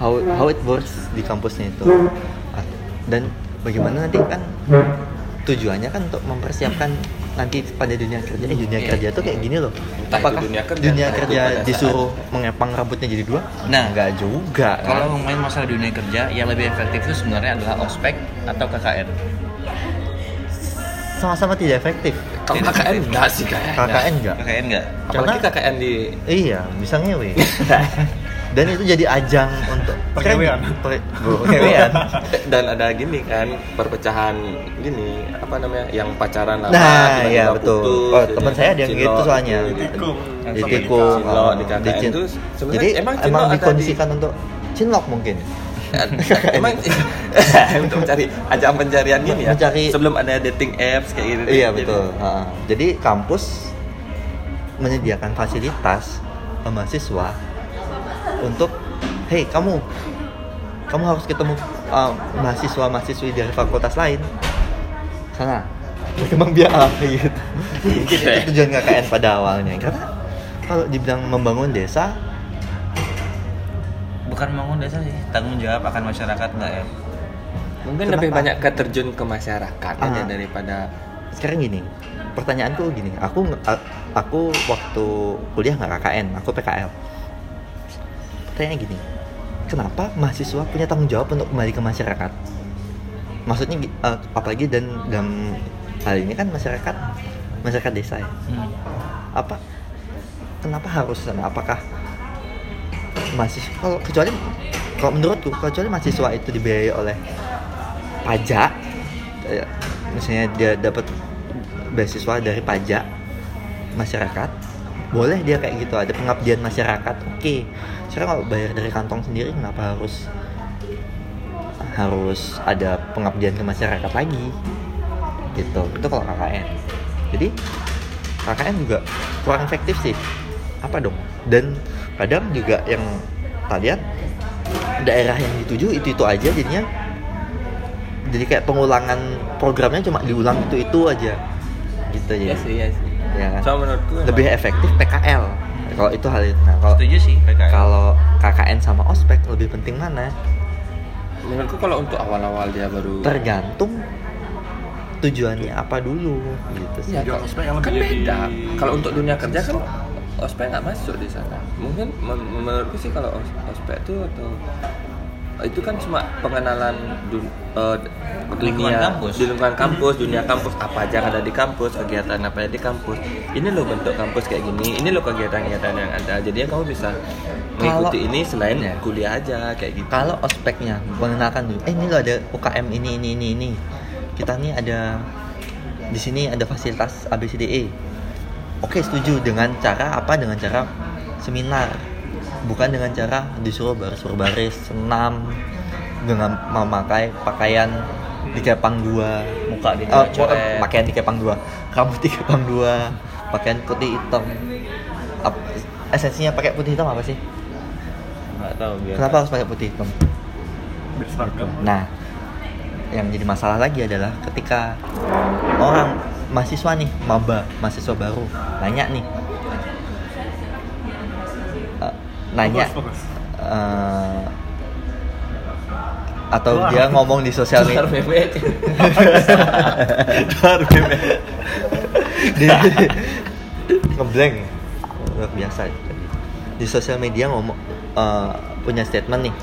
Speaker 1: how how it works di kampusnya itu Ah, dan bagaimana nanti kan tujuannya kan untuk mempersiapkan nanti pada dunia kerja eh dunia kerja tuh kayak gini loh
Speaker 3: Entah itu
Speaker 1: apakah
Speaker 3: dunia
Speaker 1: dunia kerja,
Speaker 3: kerja, entah Nah, itu pada saat-
Speaker 1: disuruh mengepang rambutnya jadi dua
Speaker 2: Nah.
Speaker 1: nggak juga kan?
Speaker 2: Kalau ngomongin masalah dunia kerja, yang lebih efektif itu sebenarnya adalah ospek atau KKN.
Speaker 1: sama-sama tidak efektif
Speaker 3: kalau KKN enggak sih kayaknya
Speaker 1: KKN nggak
Speaker 2: KKN enggak?
Speaker 3: apalagi
Speaker 1: Karena-
Speaker 3: KKN di
Speaker 1: Iya, bisa ngewe. Dan itu jadi ajang untuk
Speaker 4: Perkewean.
Speaker 1: Per- perkewean.
Speaker 3: dan ada gini kan perpecahan gini apa namanya yang pacaran lama
Speaker 1: Nah,
Speaker 3: tiba-tiba
Speaker 1: iya betul.
Speaker 3: putus,
Speaker 1: Oh,
Speaker 3: jadi
Speaker 1: teman saya ada yang
Speaker 3: cinlok,
Speaker 1: gitu soalnya.
Speaker 3: gitu.
Speaker 4: Ditikung.
Speaker 1: Ditikung,
Speaker 3: Cinlok,
Speaker 1: oh,
Speaker 3: di KKN
Speaker 1: dicin-
Speaker 3: tuh sebenarnya
Speaker 1: Jadi
Speaker 3: emang
Speaker 1: emang,
Speaker 3: cinlok ada di-
Speaker 1: dikondisikan untuk cinlok mungkin. ya?
Speaker 3: emang untuk mencari ajang pencarian gini ya
Speaker 1: Mencari-
Speaker 3: sebelum ada dating apps kayak gitu
Speaker 1: Iya
Speaker 3: Jadi,
Speaker 1: betul. Ha. Jadi kampus menyediakan fasilitas ke mahasiswa untuk, hey kamu, kamu harus ketemu uh, mahasiswa mahasiswi dari fakultas lain, sana berkembang biak gitu.
Speaker 3: Gitu ya?
Speaker 1: Itu tujuan KKN pada awalnya. Karena kalau dibilang membangun desa,
Speaker 2: Bukan bangun dasar sih, tanggung jawab akan masyarakat enggak ya?
Speaker 3: mungkin
Speaker 1: Kenapa?
Speaker 3: lebih banyak keterjun ke masyarakat aja
Speaker 1: Ah.
Speaker 3: daripada
Speaker 1: sekarang gini pertanyaanku gini aku nge- a- aku waktu kuliah nggak KKN aku PKL pertanyaan gini kenapa mahasiswa punya tanggung jawab untuk kembali ke masyarakat maksudnya gi- eh, apalagi dan dalam hal ini kan masyarakat masyarakat desa ya
Speaker 2: Hmm.
Speaker 1: apa kenapa harus sana? apakah mahasiswa kalau kecuali kalau menurutku kecuali mahasiswa itu dibiayai oleh pajak eh, misalnya dia dapat beasiswa dari pajak masyarakat boleh dia kayak gitu ada pengabdian masyarakat oke sekarang kalau bayar dari kantong sendiri kenapa harus harus ada pengabdian ke masyarakat lagi gitu itu kalau KKN jadi KKN juga kurang efektif sih apa dong dan kadang juga yang tak lihat daerah yang dituju itu itu aja jadinya jadi kayak pengulangan programnya cuma diulang itu itu aja gitu ya
Speaker 3: Iya sih iya sih
Speaker 1: ya kan?
Speaker 3: so menurutku
Speaker 1: lebih
Speaker 3: emang-
Speaker 1: efektif PKL kalau itu hal itu nah, kalau
Speaker 2: Setuju sih PKN.
Speaker 1: kalau KKN sama ospek lebih penting mana
Speaker 3: menurutku kalau untuk awal-awal dia baru
Speaker 1: tergantung tujuannya apa dulu gitu sih
Speaker 3: Iya,
Speaker 4: Tujuan
Speaker 3: kan-
Speaker 4: ospek yang
Speaker 3: kan
Speaker 4: lebih jadi-
Speaker 3: beda. Kalau untuk dunia kerja kan ospek nggak masuk di sana. Mungkin men- menurutku sih kalau os- ospek itu atau itu kan cuma pengenalan dun- eh, dunia
Speaker 2: Lingkungan kampus.
Speaker 3: di lingkungan kampus dunia kampus apa aja yang ada di kampus kegiatan apa yang ada di kampus ini loh bentuk kampus kayak gini ini loh kegiatan-kegiatan yang ada jadi ya kamu bisa mengikuti
Speaker 1: Kalau-
Speaker 3: ini selain
Speaker 1: Ya.
Speaker 3: kuliah aja kayak gitu
Speaker 1: kalau ospeknya mengenalkan dulu eh ini lo ada UKM ini ini ini ini kita nih ada di sini ada fasilitas ABCDE E." oke setuju dengan cara apa dengan cara seminar bukan dengan cara disuruh baris berbaris senam dengan memakai pakaian dikepang dua
Speaker 2: Muka di
Speaker 1: Oh,
Speaker 2: coret.
Speaker 1: pakaian dikepang dua rambut dikepang dua pakaian putih hitam Ap- esensinya pakai putih hitam apa sih
Speaker 2: nggak tahu biar
Speaker 1: kenapa harus pakai putih hitam
Speaker 4: berseragam
Speaker 1: Nah, yang jadi masalah lagi adalah ketika orang mahasiswa nih, maba, mahasiswa baru, nanya nih, Eh, nanya
Speaker 4: Fokus, fokus.
Speaker 1: eh, atau
Speaker 4: Wah.
Speaker 1: dia ngomong di sosial media,
Speaker 4: Dar bebek.
Speaker 1: Dia- ngeblank, luar biasa. Di sosial media ngomong eh, punya statement nih.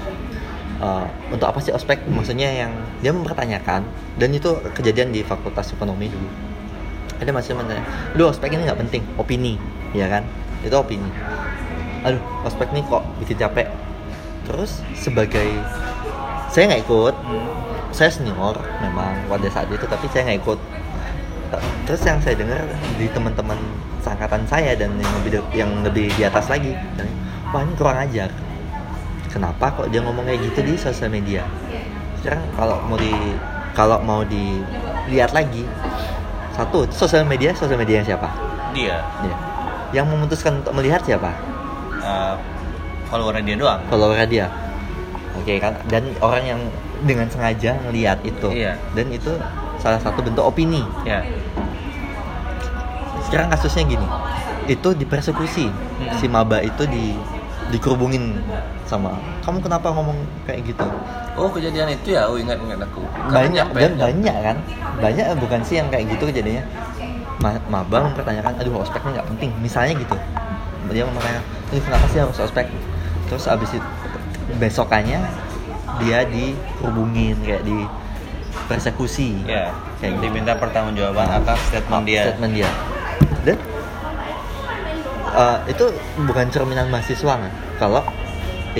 Speaker 1: Eh, untuk apa sih ospek? Maksudnya yang dia mempertanyakan dan itu kejadian di Fakultas Ekonomi dulu. Ada masih menanya, "Duh, ospek ini nggak penting, opini." Ya kan? Itu opini. Aduh, ospek nih kok bikin capek. Terus sebagai saya nggak ikut. Saya senior memang pada saat itu tapi saya nggak ikut. T- Terus yang saya dengar di teman-teman seangkatan saya dan yang lebih de- yang lebih di atas lagi, katanya, wah ini kurang ajar kenapa kok dia ngomong kayak gitu di sosial media sekarang kalau mau di kalau mau dilihat lagi satu sosial media sosial media yang siapa
Speaker 2: dia
Speaker 1: ya. yang memutuskan untuk melihat siapa
Speaker 2: eh, followernya dia doang
Speaker 1: follower dia oke kan dan orang yang dengan sengaja melihat itu
Speaker 2: Iya.
Speaker 1: dan itu salah satu bentuk opini
Speaker 2: ya
Speaker 1: sekarang kasusnya gini itu dipersekusi si maba itu di dikerubungin sama kamu kenapa ngomong kayak gitu
Speaker 3: oh kejadian itu ya oh ingat ingat aku Karena
Speaker 1: banyak
Speaker 3: nyampe-
Speaker 1: dan banyak kan banyak eh, bukan sih yang kayak gitu kejadiannya Ma- maba mempertanyakan aduh ospeknya nggak penting misalnya gitu dia mempertanyakan ini kenapa sih harus ospek terus abis itu besokannya dia dihubungin kayak di persekusi
Speaker 2: ya
Speaker 1: kayak gitu
Speaker 2: diminta pertanggungjawaban atas statement dia
Speaker 1: statement dia dan eh, itu bukan cerminan mahasiswa kan kalau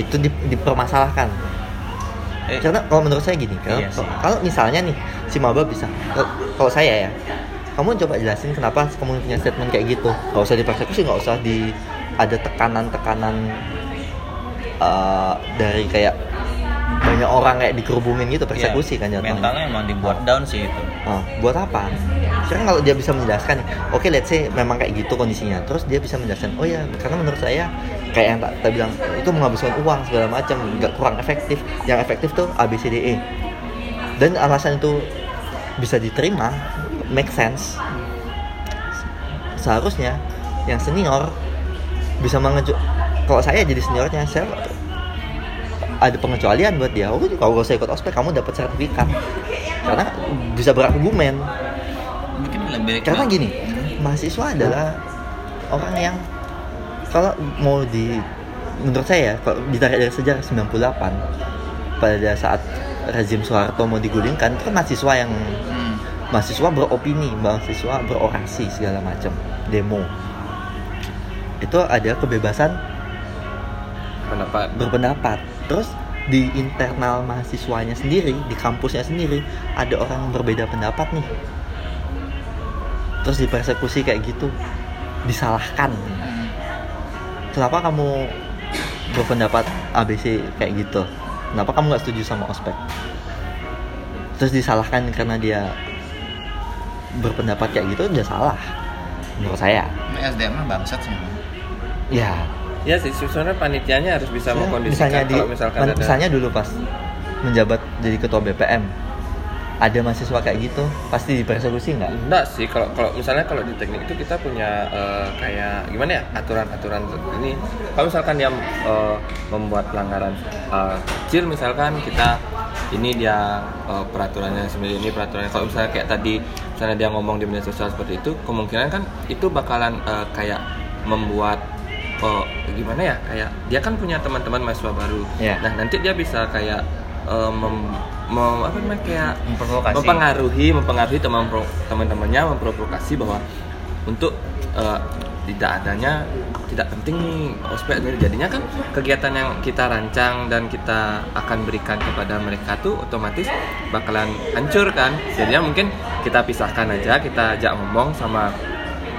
Speaker 1: itu di- dipermasalahkan
Speaker 2: Eh,
Speaker 1: karena kalau menurut saya gini kalau,
Speaker 2: Iya sih.
Speaker 1: kalau misalnya nih si maba bisa kalau- kalau saya ya kamu coba jelasin kenapa kamu punya statement kayak gitu nggak usah dipersekusi nggak usah di ada tekanan-tekanan eh, dari kayak banyak orang kayak dikerubungin gitu
Speaker 2: ya,
Speaker 1: persekusi kan jatuhnya
Speaker 2: mentalnya emang dibuat down sih itu
Speaker 1: Oh, buat apa? Sekarang kalau dia bisa menjelaskan, oke let's say memang kayak gitu kondisinya. Terus dia bisa menjelaskan, oh ya karena menurut saya kayak yang tak tak bilang itu menghabiskan uang segala macam, nggak kurang efektif. Yang efektif tuh ABCDE. E." Dan alasan itu bisa diterima, make sense. Seharusnya yang senior bisa mengeju kalau saya jadi seniornya saya ada pengecualian buat dia. Oh, kalau gak usah ikut ospek, kamu dapat sertifikat. Karena bisa berargumen.
Speaker 2: mungkin lebih
Speaker 1: Karena gini, mahasiswa adalah orang yang kalau mau di menurut saya ya, kalau ditarik dari sejarah 98 pada saat rezim Soeharto mau digulingkan itu kan mahasiswa yang
Speaker 2: Hmm.
Speaker 1: mahasiswa beropini, mahasiswa berorasi segala macam, demo. Itu ada kebebasan
Speaker 3: pendapat
Speaker 1: berpendapat. Terus di internal mahasiswanya sendiri, di kampusnya sendiri ada orang yang berbeda pendapat nih. Terus dipersekusi kayak gitu, disalahkan. Kenapa kamu berpendapat ABC kayak gitu? Kenapa kamu nggak setuju sama ospek? Terus disalahkan karena dia berpendapat kayak gitu, dia salah. Menurut saya,
Speaker 2: Ini SDM mah bangsat sih emang.
Speaker 1: ya
Speaker 3: ya sih sebenarnya panitianya harus bisa
Speaker 1: Ya,
Speaker 3: mengkondisikan
Speaker 1: misalnya di
Speaker 3: kan kalau misalkan
Speaker 1: men-
Speaker 3: ada
Speaker 1: misalnya dulu pas menjabat jadi ketua BPM ada mahasiswa kayak gitu pasti dipersekusi nggak
Speaker 3: Enggak sih, kalau kalau misalnya kalau di teknik itu kita punya eh, kayak gimana ya aturan-aturan ini. Kalau misalkan dia eh, membuat pelanggaran eh, kecil, misalkan kita ini dia eh, peraturannya sendiri ini peraturannya. Kalau misalnya kayak tadi, misalnya dia ngomong di media sosial seperti itu, kemungkinan kan itu bakalan eh, kayak membuat eh, gimana ya kayak dia kan punya teman-teman mahasiswa baru.
Speaker 1: Iya.
Speaker 3: Nah nanti dia bisa kayak eh, mem, mem- apa namanya kayak
Speaker 1: Hmm. Memprovokasi.
Speaker 3: mempengaruhi mempengaruhi teman pro- teman-temannya memprovokasi bahwa untuk eh, tidak adanya tidak penting nih ospek jadi jadinya kan kegiatan yang kita rancang dan kita akan berikan kepada mereka tuh otomatis bakalan hancur kan jadinya mungkin kita pisahkan aja kita ajak ngomong sama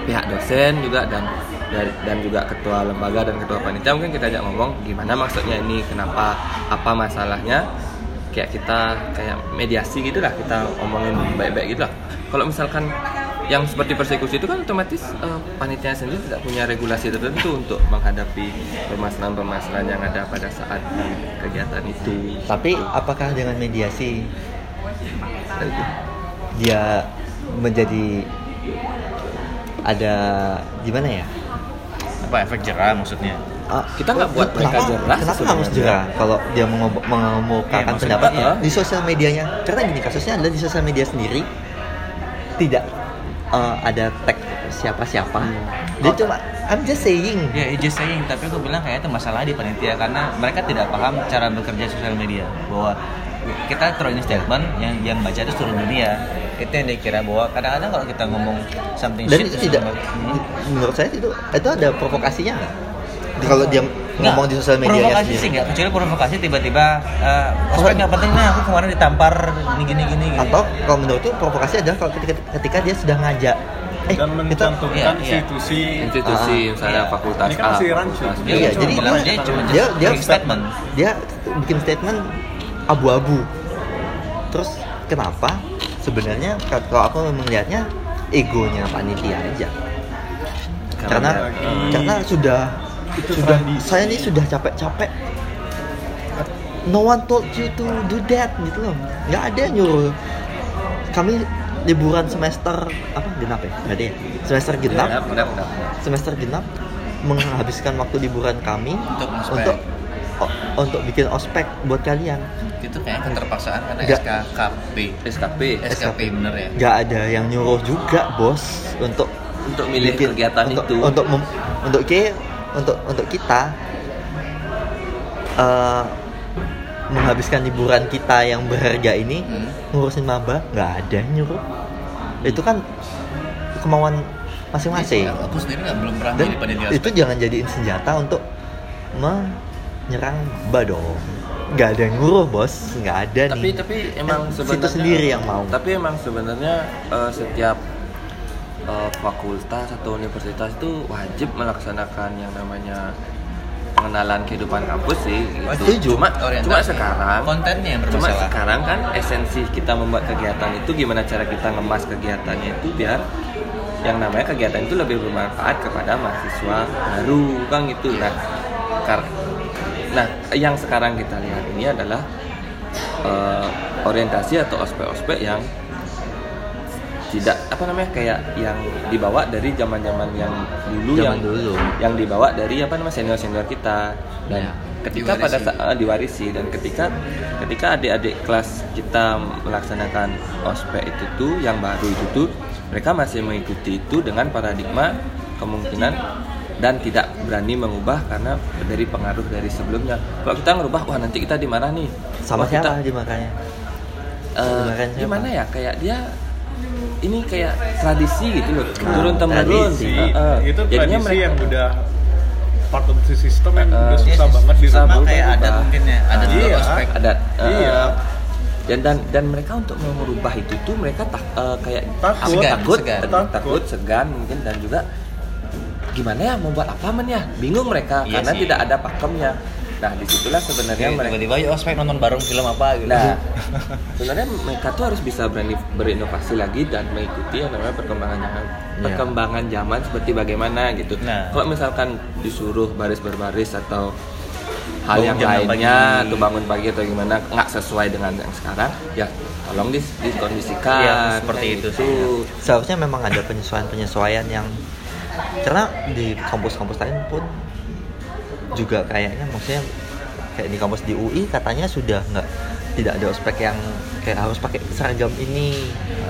Speaker 3: pihak dosen juga dan dari- dan juga ketua lembaga dan ketua panitia mungkin kita ajak ngomong gimana maksudnya ini kenapa apa masalahnya kayak kita kayak mediasi gitulah kita omongin baik-baik gitulah kalau misalkan yang seperti persekusi itu kan otomatis eh, panitia sendiri tidak punya regulasi tertentu untuk menghadapi permasalahan-permasalahan yang ada pada saat kegiatan itu
Speaker 4: Ah.
Speaker 1: Tapi apakah dengan mediasi dia menjadi ada gimana ya?
Speaker 2: apa efek jerah maksudnya
Speaker 1: Ah,
Speaker 3: Kita nggak buat mereka
Speaker 1: kenapa-
Speaker 3: jerah
Speaker 1: Kenapa
Speaker 3: sebenarnya.
Speaker 1: harus jerah kalau dia mengob-
Speaker 2: Iya,
Speaker 1: mengemukakan
Speaker 2: maksudnya,
Speaker 1: pendapatnya
Speaker 3: eh.
Speaker 1: di sosial medianya? Karena gini kasusnya adalah di sosial media sendiri tidak eh, ada tag siapa-siapa. Dia cuma I'm just saying.
Speaker 2: ya it's just saying tapi aku bilang kayaknya itu masalah di panitia karena mereka tidak paham cara bekerja sosial media bahwa kita throw in statement yang yang baca itu seluruh dunia itu yang dikira bahwa kadang-kadang kalau kita ngomong something
Speaker 1: Dan itu
Speaker 2: shit terus
Speaker 1: tidak
Speaker 2: ngomong- Hmm.
Speaker 1: menurut saya itu itu ada provokasinya nggak? Kalau dia ngomong di sosial media ya,
Speaker 2: provokasi sih nggak kecuali provokasi tiba-tiba eh ospek nggak penting nah aku kemarin ditampar ini gini gini gini
Speaker 1: atau kalau menurut tuh provokasi adalah kalau ketika, ketika dia sudah ngajak eh
Speaker 4: dan
Speaker 1: kita
Speaker 4: mencantumkan
Speaker 2: iya, iya.
Speaker 4: institusi
Speaker 1: Ah,
Speaker 3: institusi misalnya
Speaker 2: iya.
Speaker 3: fakultas
Speaker 4: Ini kan masih rancu.
Speaker 3: fakultas B.
Speaker 2: dia
Speaker 1: iya
Speaker 2: cuma
Speaker 1: jadi
Speaker 2: bilang,
Speaker 1: dia-
Speaker 2: dia cuma
Speaker 1: dia
Speaker 2: just
Speaker 1: dia
Speaker 2: make statement.
Speaker 1: dia bikin statement abu-abu terus kenapa sebenarnya kalau aku melihatnya egonya panitia aja karena
Speaker 4: lagi-
Speaker 1: karena sudah
Speaker 4: Itu
Speaker 1: sudah
Speaker 4: tradisi.
Speaker 1: saya ini sudah capek-capek no one told you to do that gitu loh nggak ada yang nyuruh kami liburan semester apa genap ya nggak ada ya semester genap
Speaker 3: Benar, benar, benar.
Speaker 1: semester genap menghabiskan waktu liburan kami
Speaker 2: Untuk ospek.
Speaker 1: untuk o- untuk bikin ospek buat kalian
Speaker 2: itu kayak keterpaksaan kan, karena
Speaker 1: Nggak.
Speaker 2: SKKP
Speaker 3: SKP
Speaker 2: SKP bener ya
Speaker 1: nggak ada yang nyuruh juga bos untuk
Speaker 3: untuk milih
Speaker 1: bikin-
Speaker 3: kegiatan
Speaker 1: untuk,
Speaker 3: itu
Speaker 1: untuk mem- untuk ke untuk untuk kita eh, menghabiskan liburan kita yang berharga ini
Speaker 2: Hmm.
Speaker 1: ngurusin maba nggak ada yang nyuruh itu kan kemauan masing-masing
Speaker 2: Aku sendiri nggak belum pernah
Speaker 1: Iya. dan
Speaker 3: Iya,
Speaker 2: jadi panitia
Speaker 1: itu jangan jadiin senjata untuk menyerang maba dong nggak ada yang nguruh bos nggak ada
Speaker 3: tapi
Speaker 1: nih
Speaker 3: tapi emang
Speaker 1: Kan situ
Speaker 3: sebenarnya
Speaker 1: sendiri yang mau.
Speaker 3: tapi emang sebenarnya eh, setiap eh, fakultas atau universitas itu wajib melaksanakan yang namanya pengenalan kehidupan kampus sih
Speaker 1: Oh, setuju.
Speaker 3: gitu. cuma
Speaker 2: Orientasi.
Speaker 3: cuma sekarang
Speaker 2: Kontennya yang
Speaker 3: cuma
Speaker 2: bermasalah.
Speaker 3: sekarang kan esensi kita membuat kegiatan itu gimana cara kita ngemas kegiatannya itu biar yang namanya kegiatan itu lebih bermanfaat kepada mahasiswa baru kan gitu nah kar- nah yang sekarang kita lihat ini adalah eh, orientasi atau ospek-ospek yang tidak apa namanya kayak yang dibawa dari zaman-zaman yang dulu
Speaker 1: Zaman
Speaker 3: yang
Speaker 1: dulu.
Speaker 3: yang dibawa dari apa namanya senior-senior kita dan
Speaker 1: Iya,
Speaker 2: Ya,
Speaker 3: ketika
Speaker 2: diwarisi.
Speaker 3: pada saat eh, diwarisi dan ketika ketika adik-adik kelas kita melaksanakan ospek itu tuh yang baru itu tuh mereka masih mengikuti itu dengan paradigma kemungkinan dan tidak berani mengubah karena dari pengaruh dari sebelumnya kalau kita ngerubah wah nanti kita dimarah nih
Speaker 1: sama
Speaker 3: Wah, kita-
Speaker 1: siapa dimakannya
Speaker 3: Ya, Eh,
Speaker 1: Kemarin siapa?
Speaker 3: gimana ya kayak dia ini kayak tradisi gitu loh turun temurun
Speaker 1: Ah, tradisi.
Speaker 3: Eh, eh.
Speaker 4: itu
Speaker 3: Jadinya
Speaker 4: tradisi yang udah part of the system yang
Speaker 3: Eh,
Speaker 4: udah
Speaker 3: iya,
Speaker 4: susah banget
Speaker 2: sama
Speaker 4: dirubah
Speaker 2: kayak adat
Speaker 3: berubah.
Speaker 2: mungkin ya adat
Speaker 4: Iya.
Speaker 2: iya. ospek
Speaker 3: ada eh,
Speaker 4: Iya.
Speaker 3: dan dan dan mereka untuk mau merubah itu tuh mereka tak eh, kayak
Speaker 4: Takut.
Speaker 3: apa,
Speaker 2: Segan,
Speaker 3: takut,
Speaker 2: segan.
Speaker 3: takut
Speaker 4: Takut.
Speaker 3: segan mungkin dan juga gimana ya membuat apa men ya bingung mereka
Speaker 2: Iya
Speaker 3: karena
Speaker 2: sih.
Speaker 3: tidak ada pakemnya nah disitulah sebenarnya
Speaker 2: Iya,
Speaker 3: mereka
Speaker 2: tiba-tiba yuk ospek nonton bareng film apa gitu
Speaker 3: Nah, sebenarnya mereka tuh harus bisa berani berinovasi lagi dan mengikuti yang namanya perkembangan zaman, perkembangan zaman seperti bagaimana gitu.
Speaker 2: Iya. Nah.
Speaker 3: Kalau misalkan disuruh baris berbaris atau hal
Speaker 2: Bangun
Speaker 3: yang
Speaker 2: jam enam
Speaker 3: lainnya
Speaker 2: pagi.
Speaker 3: atau bangun pagi atau gimana nggak sesuai dengan yang sekarang, ya tolong dis dikondisikan
Speaker 2: Iya, seperti
Speaker 3: kayak
Speaker 2: itu
Speaker 3: gitu.
Speaker 2: sih.
Speaker 1: seharusnya memang ada penyesuaian-penyesuaian yang karena di kampus-kampus lain pun juga kayaknya maksudnya kayak di kampus di UI katanya sudah nggak tidak ada ospek yang kayak harus pakai seragam ini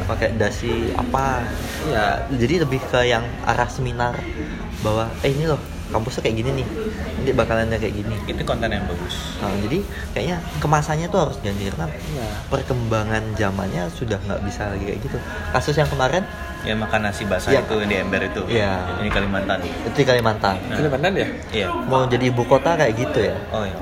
Speaker 1: pakai dasi apa Ya,
Speaker 3: Iya.
Speaker 1: jadi lebih ke yang arah seminar bahwa eh ini loh kampusnya kayak gini nih nanti bakalannya kayak gini
Speaker 2: itu konten yang bagus
Speaker 1: Nah, jadi kayaknya kemasannya tuh harus ganti karena
Speaker 3: Iya.
Speaker 1: perkembangan zamannya sudah nggak bisa lagi kayak gitu. Kasus yang kemarin
Speaker 2: ya makan nasi basah
Speaker 1: Iya.
Speaker 2: itu yang di ember itu
Speaker 1: Iya.
Speaker 2: ini Kalimantan
Speaker 1: itu di Kalimantan.
Speaker 2: Nah.
Speaker 3: Kalimantan ya?
Speaker 2: iya
Speaker 1: Mau jadi ibu kota kayak gitu ya.
Speaker 2: oh iya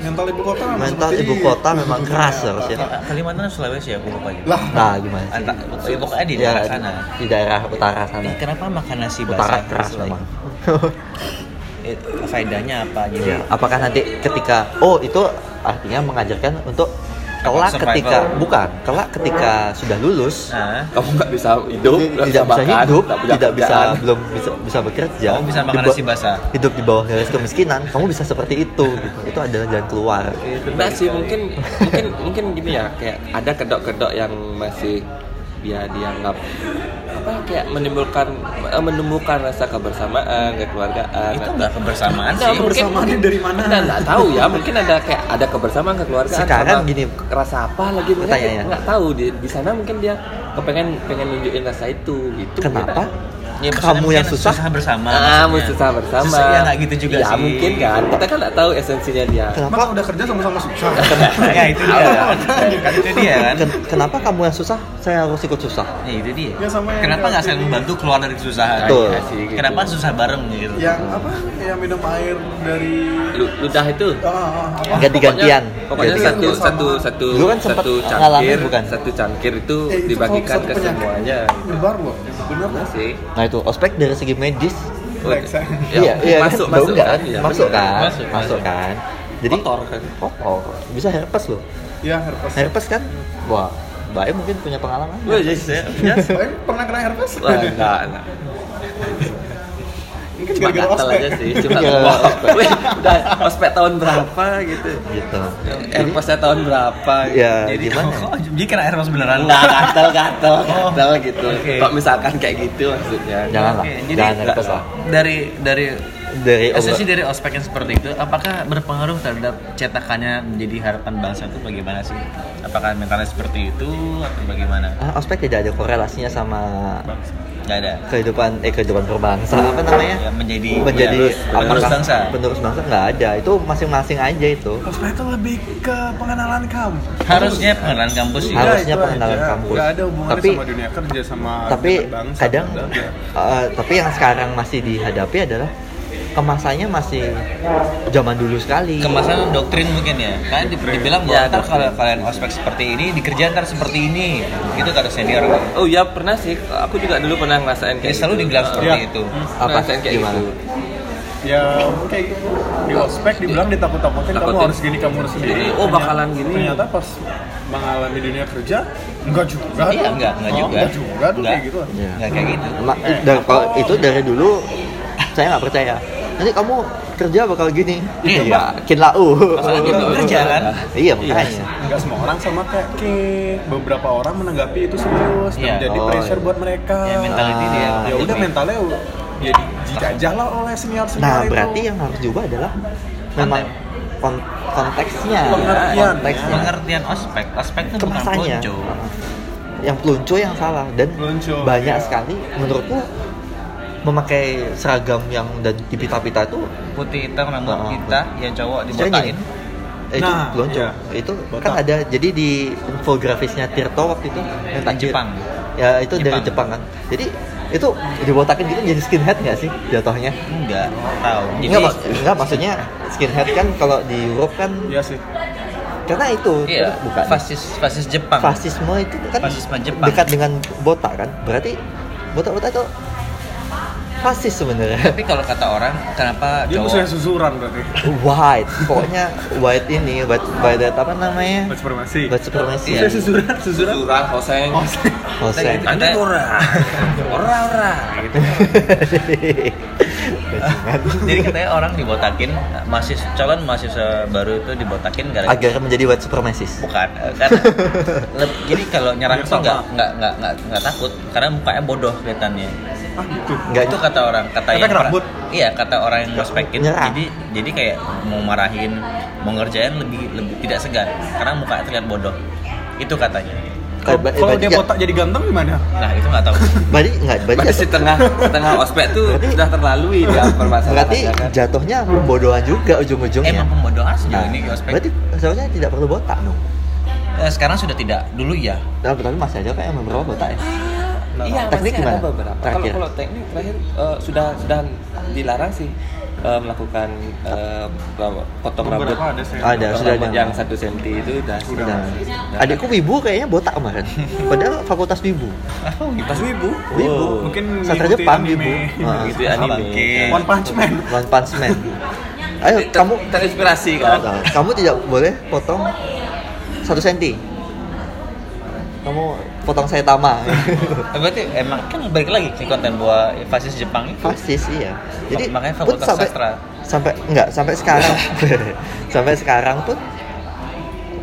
Speaker 4: mental ibu kota memang
Speaker 1: Mental
Speaker 4: seperti
Speaker 1: ibu
Speaker 4: itu.
Speaker 1: kota memang keras harusnya.
Speaker 2: Kalimantan atau Sulawesi ya aku lupa gitu
Speaker 4: lah
Speaker 1: Nah, gimana? sih?
Speaker 2: Anta- ya, pokoknya di daerah
Speaker 1: Ya,
Speaker 2: sana.
Speaker 1: Di daerah utara sana.
Speaker 2: Nih, kenapa makan nasi
Speaker 1: Utara
Speaker 2: basah
Speaker 1: keras
Speaker 2: terus lagi?
Speaker 1: memang.
Speaker 2: Eh, faedahnya apa
Speaker 1: Ya,
Speaker 2: jadi
Speaker 1: apakah nanti ketika oh itu artinya mengajarkan untuk kelak
Speaker 2: Survival.
Speaker 1: ketika bukan kelak ketika sudah lulus
Speaker 2: nah,
Speaker 3: Kamu nggak bisa hidup, nggak
Speaker 1: tidak bisa
Speaker 3: makan,
Speaker 1: hidup,
Speaker 3: nggak punya
Speaker 1: tidak bisa
Speaker 3: kerjaan.
Speaker 1: belum bisa bisa bekerja.
Speaker 2: Kamu bisa makan
Speaker 1: di ba-
Speaker 2: nasi basah.
Speaker 1: Hidup di bawah garis kemiskinan, kamu bisa seperti itu. gitu. Itu adalah jalan keluar.
Speaker 3: Enggak sih mungkin mungkin mungkin gini ya kayak ada kedok-kedok yang masih dia dianggap apa kayak menimbulkan eh, menumbuhkan rasa kebersamaan kekeluargaan
Speaker 2: itu nggak kebersamaan sih
Speaker 3: Enggak, mungkin-
Speaker 4: Kebersamaannya dari mana?
Speaker 3: Enggak, enggak tahu ya mungkin ada kayak ada kebersamaan kekeluargaan
Speaker 1: Sekarang
Speaker 3: sama
Speaker 1: gini,
Speaker 3: rasa apa lagi mungkin
Speaker 1: pertanyaannya.
Speaker 3: nggak tahu di, di sana mungkin dia kepengen pengen nunjukin rasa itu gitu
Speaker 1: Kenapa?
Speaker 2: Ya, maksudnya
Speaker 1: kamu yang
Speaker 2: mungkin
Speaker 1: susah.
Speaker 2: bersama
Speaker 3: ah
Speaker 2: maksudnya.
Speaker 3: susah bersama
Speaker 2: susah ya nggak gitu juga
Speaker 3: ya,
Speaker 2: sih
Speaker 3: mungkin kan kita kan nggak tahu esensinya dia
Speaker 1: Kenapa?
Speaker 4: maka udah kerja sama-sama susah
Speaker 2: ya itu dia kan Kan itu dia kan
Speaker 1: Iya. ken- Kenapa kamu yang susah? Saya harus ikut susah.
Speaker 2: ya itu dia
Speaker 4: Ya, sama yang
Speaker 2: kenapa
Speaker 4: kayak
Speaker 2: nggak saling
Speaker 4: gini.
Speaker 2: membantu keluar dari kesusahan
Speaker 1: Betul.
Speaker 2: Ya, sih, gitu. kenapa susah bareng gitu
Speaker 4: yang apa yang minum air dari
Speaker 3: Lu- ludah itu
Speaker 4: ah, apa?
Speaker 1: Ganti-gantian.
Speaker 3: Pokoknya
Speaker 1: Ganti-
Speaker 3: satu
Speaker 4: Sama.
Speaker 3: satu satu
Speaker 1: Lu kan sempet
Speaker 3: satu
Speaker 1: ngalamin,
Speaker 3: cangkir
Speaker 1: bukan?
Speaker 3: satu cangkir itu
Speaker 4: Eh, itu
Speaker 3: dibagikan
Speaker 4: satu
Speaker 3: ke
Speaker 4: penyakit.
Speaker 3: semuanya.
Speaker 4: nyebar loh bener
Speaker 3: Benar
Speaker 4: kan
Speaker 3: sih.
Speaker 1: Nah itu ospek dari segi medis.
Speaker 3: Oh,
Speaker 4: Reksa.
Speaker 3: ya, masuk
Speaker 1: kan? Bau
Speaker 3: masuk
Speaker 1: nggak
Speaker 3: kan?
Speaker 1: kan?
Speaker 3: Iya,
Speaker 1: masuk
Speaker 3: benar.
Speaker 1: kan?
Speaker 2: Masuk, masuk.
Speaker 1: kan? Jadi
Speaker 3: Kotor kan?
Speaker 1: kotor. Bisa herpes loh.
Speaker 4: ya herpes
Speaker 1: Herpes kan? Wah, Bae mungkin punya pengalaman.
Speaker 3: Wah, jadi saya.
Speaker 4: Baik, pernah kena herpes
Speaker 3: iya Wah, enggak, enggak.
Speaker 4: mungkin
Speaker 3: Cuma
Speaker 4: kan gara-gara
Speaker 3: gatel
Speaker 4: ospek
Speaker 3: aja sih, cuma
Speaker 1: Iya,
Speaker 3: Wah,
Speaker 1: ospek.
Speaker 3: weh, udah ospek tahun berapa gitu.
Speaker 1: Gitu.
Speaker 3: Airposnya tahun berapa? gitu.
Speaker 1: Ya,
Speaker 2: jadi
Speaker 1: gimana?
Speaker 2: kok jadi kena air mas beneran
Speaker 3: Enggak gatel gatel
Speaker 4: Oh.
Speaker 3: gatel gitu.
Speaker 2: oke.
Speaker 3: Kalau misalkan kayak gitu maksudnya.
Speaker 1: Jangan lah.
Speaker 2: Oke, jadi
Speaker 1: Jangan herpes lah.
Speaker 2: dari dari
Speaker 1: Dari
Speaker 2: esensi dari ospek yang seperti itu apakah berpengaruh terhadap cetakannya menjadi harapan bangsa itu bagaimana sih apakah mentalnya seperti itu atau bagaimana
Speaker 1: Ah, ospek tidak ada korelasinya sama
Speaker 2: nggak ada
Speaker 1: kehidupan eh kehidupan berbangsa apa namanya
Speaker 2: Ya, menjadi
Speaker 1: menjadi
Speaker 2: penerus- penerus
Speaker 1: apakah-
Speaker 2: bangsa.
Speaker 1: penerus bangsa nggak ada itu masing-masing aja itu
Speaker 4: ospek itu lebih ke pengenalan kamu
Speaker 2: harusnya pengenalan kampus sih
Speaker 4: Iya,
Speaker 1: Harusnya
Speaker 4: itu
Speaker 1: pengenalan
Speaker 4: aja.
Speaker 1: kampus.
Speaker 4: Nggak ada hubungannya
Speaker 1: Tapi-
Speaker 4: sama dunia kerja sama
Speaker 1: tapi
Speaker 4: dunia bangsa,
Speaker 1: kadang
Speaker 4: nggak ada.
Speaker 1: eh, tapi yang sekarang masih dihadapi adalah kemasannya masih zaman dulu sekali
Speaker 2: kemasan doktrin mungkin ya kan di- dibilang bahwa
Speaker 3: Ya,
Speaker 2: ntar
Speaker 3: doktrin.
Speaker 2: kalau kalian ospek seperti ini di kerjaan ntar seperti ini gitu kata senior
Speaker 3: Oh iya pernah sih, aku juga dulu pernah
Speaker 2: ya
Speaker 3: ngerasain kayak
Speaker 2: selalu
Speaker 3: gitu.
Speaker 2: dibilang seperti
Speaker 4: Iya.
Speaker 2: itu
Speaker 1: Hmm.
Speaker 2: Nah,
Speaker 1: Apa?
Speaker 3: Ngerasain kayak
Speaker 1: Gimana?
Speaker 3: gitu.
Speaker 4: ya kayak gitu di ospek dibilang ditakut-takutin kamu
Speaker 3: Takutin.
Speaker 4: harus gini kamu harus gini
Speaker 3: Jadi, oh, bakalan gini.
Speaker 4: ternyata pas mengalami dunia kerja enggak juga
Speaker 2: Iya, enggak, enggak
Speaker 4: Oh,
Speaker 2: juga.
Speaker 4: enggak juga tuh
Speaker 2: Enggak.
Speaker 4: kayak gitu
Speaker 1: Iya.
Speaker 2: nggak kayak gitu
Speaker 1: Ma- dari- kalau itu dari dulu saya nggak percaya nanti kamu kerja bakal gini
Speaker 2: Iya.
Speaker 1: makin lau
Speaker 2: Masalah gitu, kerja kan?
Speaker 1: iya makanya
Speaker 4: Enggak semua orang sama kayak Ki. Beberapa orang menanggapi itu serius
Speaker 2: Iya.
Speaker 4: dan jadi
Speaker 1: Oh,
Speaker 4: pressure
Speaker 1: iya.
Speaker 4: buat mereka.
Speaker 2: ya mentality dia
Speaker 1: Ah,
Speaker 4: Ya udah mentalnya u- ya di- dijajah lah oleh senior senior
Speaker 1: Nah, berarti yang harus diubah adalah memang kon- konteksnya,
Speaker 4: Pengertian.
Speaker 1: konteksnya.
Speaker 2: pengertian ospek ospek itu bukan
Speaker 1: Kemasannya.
Speaker 2: ponco
Speaker 1: Yang pelunco yang salah dan
Speaker 4: Pelunco,
Speaker 1: banyak
Speaker 4: iya.
Speaker 1: sekali menurutku memakai seragam yang dan dipita-pita itu
Speaker 2: putih hitam rambut
Speaker 1: Ah,
Speaker 2: kita yang cowok dibotain
Speaker 1: Eh, itu
Speaker 4: Nah,
Speaker 1: pelunco.
Speaker 4: iya.
Speaker 1: Itu kan
Speaker 4: Botak.
Speaker 1: ada jadi di infografisnya Tirto waktu itu yang tak
Speaker 2: Jepang.
Speaker 1: Ya, itu dari Jepang
Speaker 2: Jepang.
Speaker 1: kan. Jadi itu dibotakin gitu jadi skinhead nggak sih jatuhnya?
Speaker 2: enggak tahu jadi
Speaker 1: Enggak, mak- enggak, maksudnya skinhead kan kalau di Europe kan
Speaker 4: Iya sih.
Speaker 1: karena itu
Speaker 2: iya
Speaker 1: bukan
Speaker 2: fasis fasis Jepang
Speaker 1: fasisme itu kan
Speaker 2: Fasisme Jepang.
Speaker 1: dekat dengan botak kan berarti botak-botak itu fasis sebenarnya
Speaker 2: tapi kalau kata orang kenapa
Speaker 4: Dia
Speaker 2: cowok
Speaker 4: musuhnya susuran berarti.
Speaker 1: white pokoknya white ini white white apa namanya
Speaker 4: Mas Permasi.
Speaker 1: white supremacy
Speaker 2: Iya.
Speaker 1: ya
Speaker 4: Susuran, susuran.
Speaker 3: Surah Hoseng.
Speaker 1: Hoseng
Speaker 2: Kita-
Speaker 3: Anda ora. Ora ora gitu.
Speaker 1: Bajingan.
Speaker 2: jadi katanya orang dibotakin masih calon mahasiswa baru itu dibotakin gara-gara
Speaker 1: agar menjadi white supremacist
Speaker 2: bukan eh, karena leb- jadi kalau nyerang
Speaker 4: Biar
Speaker 2: tuh nggak
Speaker 4: sama.
Speaker 2: nggak nggak nggak nggak takut karena mukanya bodoh kelihatannya
Speaker 4: Ah gitu.
Speaker 1: nggak
Speaker 2: itu kata orang kata
Speaker 4: Efek
Speaker 2: yang pra-
Speaker 4: rambut.
Speaker 2: iya kata orang yang ngospekin
Speaker 1: Nyerang.
Speaker 2: jadi jadi kayak mau marahin mau ngerjain lebih lebih tidak segan karena mukanya terlihat bodoh itu katanya
Speaker 4: Kalau
Speaker 1: Eh, ba- eh,
Speaker 4: kalau
Speaker 1: Badi
Speaker 4: dia
Speaker 1: nggak-
Speaker 4: botak jadi ganteng gimana?
Speaker 2: Nah itu nggak tahu.
Speaker 1: Badi nggak, Badi
Speaker 3: Berarti
Speaker 1: jatuh-
Speaker 3: setengah setengah ospek tuh sudah terlalui dia
Speaker 1: berarti
Speaker 3: permasalahannya kan.
Speaker 1: jatuhnya pembodohan juga ujung-ujungnya. Nah,
Speaker 2: Emang pembodohan sejauh ini ospek.
Speaker 1: Iya. Berarti seharusnya tidak perlu botak dong.
Speaker 2: Eh, sekarang sudah tidak. Dulu ya.
Speaker 1: Nah, tapi masih ada kayak beberapa botak ya.
Speaker 3: Iya,
Speaker 1: Teknik
Speaker 3: masih
Speaker 1: gimana?
Speaker 3: ada beberapa. Kalau
Speaker 1: Terakhir.
Speaker 3: kalau teknik terakhir eh, sudah sudah dilarang sih eh, melakukan eh, ra- potong rambut. Oh,
Speaker 4: Beberapa ada saya.
Speaker 1: Ada,
Speaker 3: Potong
Speaker 1: sudah
Speaker 3: rambut
Speaker 1: ada.
Speaker 3: yang satu senti itu udah.
Speaker 4: Udah.
Speaker 1: Nah, adikku Wibu kayaknya botak kemarin. Padahal fakultas Wibu.
Speaker 3: Pas wibu.
Speaker 1: Wibu.
Speaker 3: Wow.
Speaker 4: Mungkin
Speaker 1: Oh. Sastra
Speaker 4: ngikutin
Speaker 1: Jepang Ah.
Speaker 4: anime. Iya.
Speaker 1: Wibu. Heeh.
Speaker 3: Gitu ya anime.
Speaker 2: Oke.
Speaker 3: Kan.
Speaker 4: One Punch Man.
Speaker 1: One Punch Man. Ayo
Speaker 3: Ter-
Speaker 1: kamu
Speaker 3: terinspirasi kan.
Speaker 1: Nah, kamu tidak boleh potong satu senti. Kamu potong saitama.
Speaker 2: Eh, Berarti emang kan balik lagi ke konten bahwa fasis Jepang itu.
Speaker 1: Fasis iya. Jadi
Speaker 2: Makanya
Speaker 1: pun
Speaker 2: fakultas
Speaker 1: sampai
Speaker 2: sastra.
Speaker 1: sampai enggak sampai sekarang sampai sekarang pun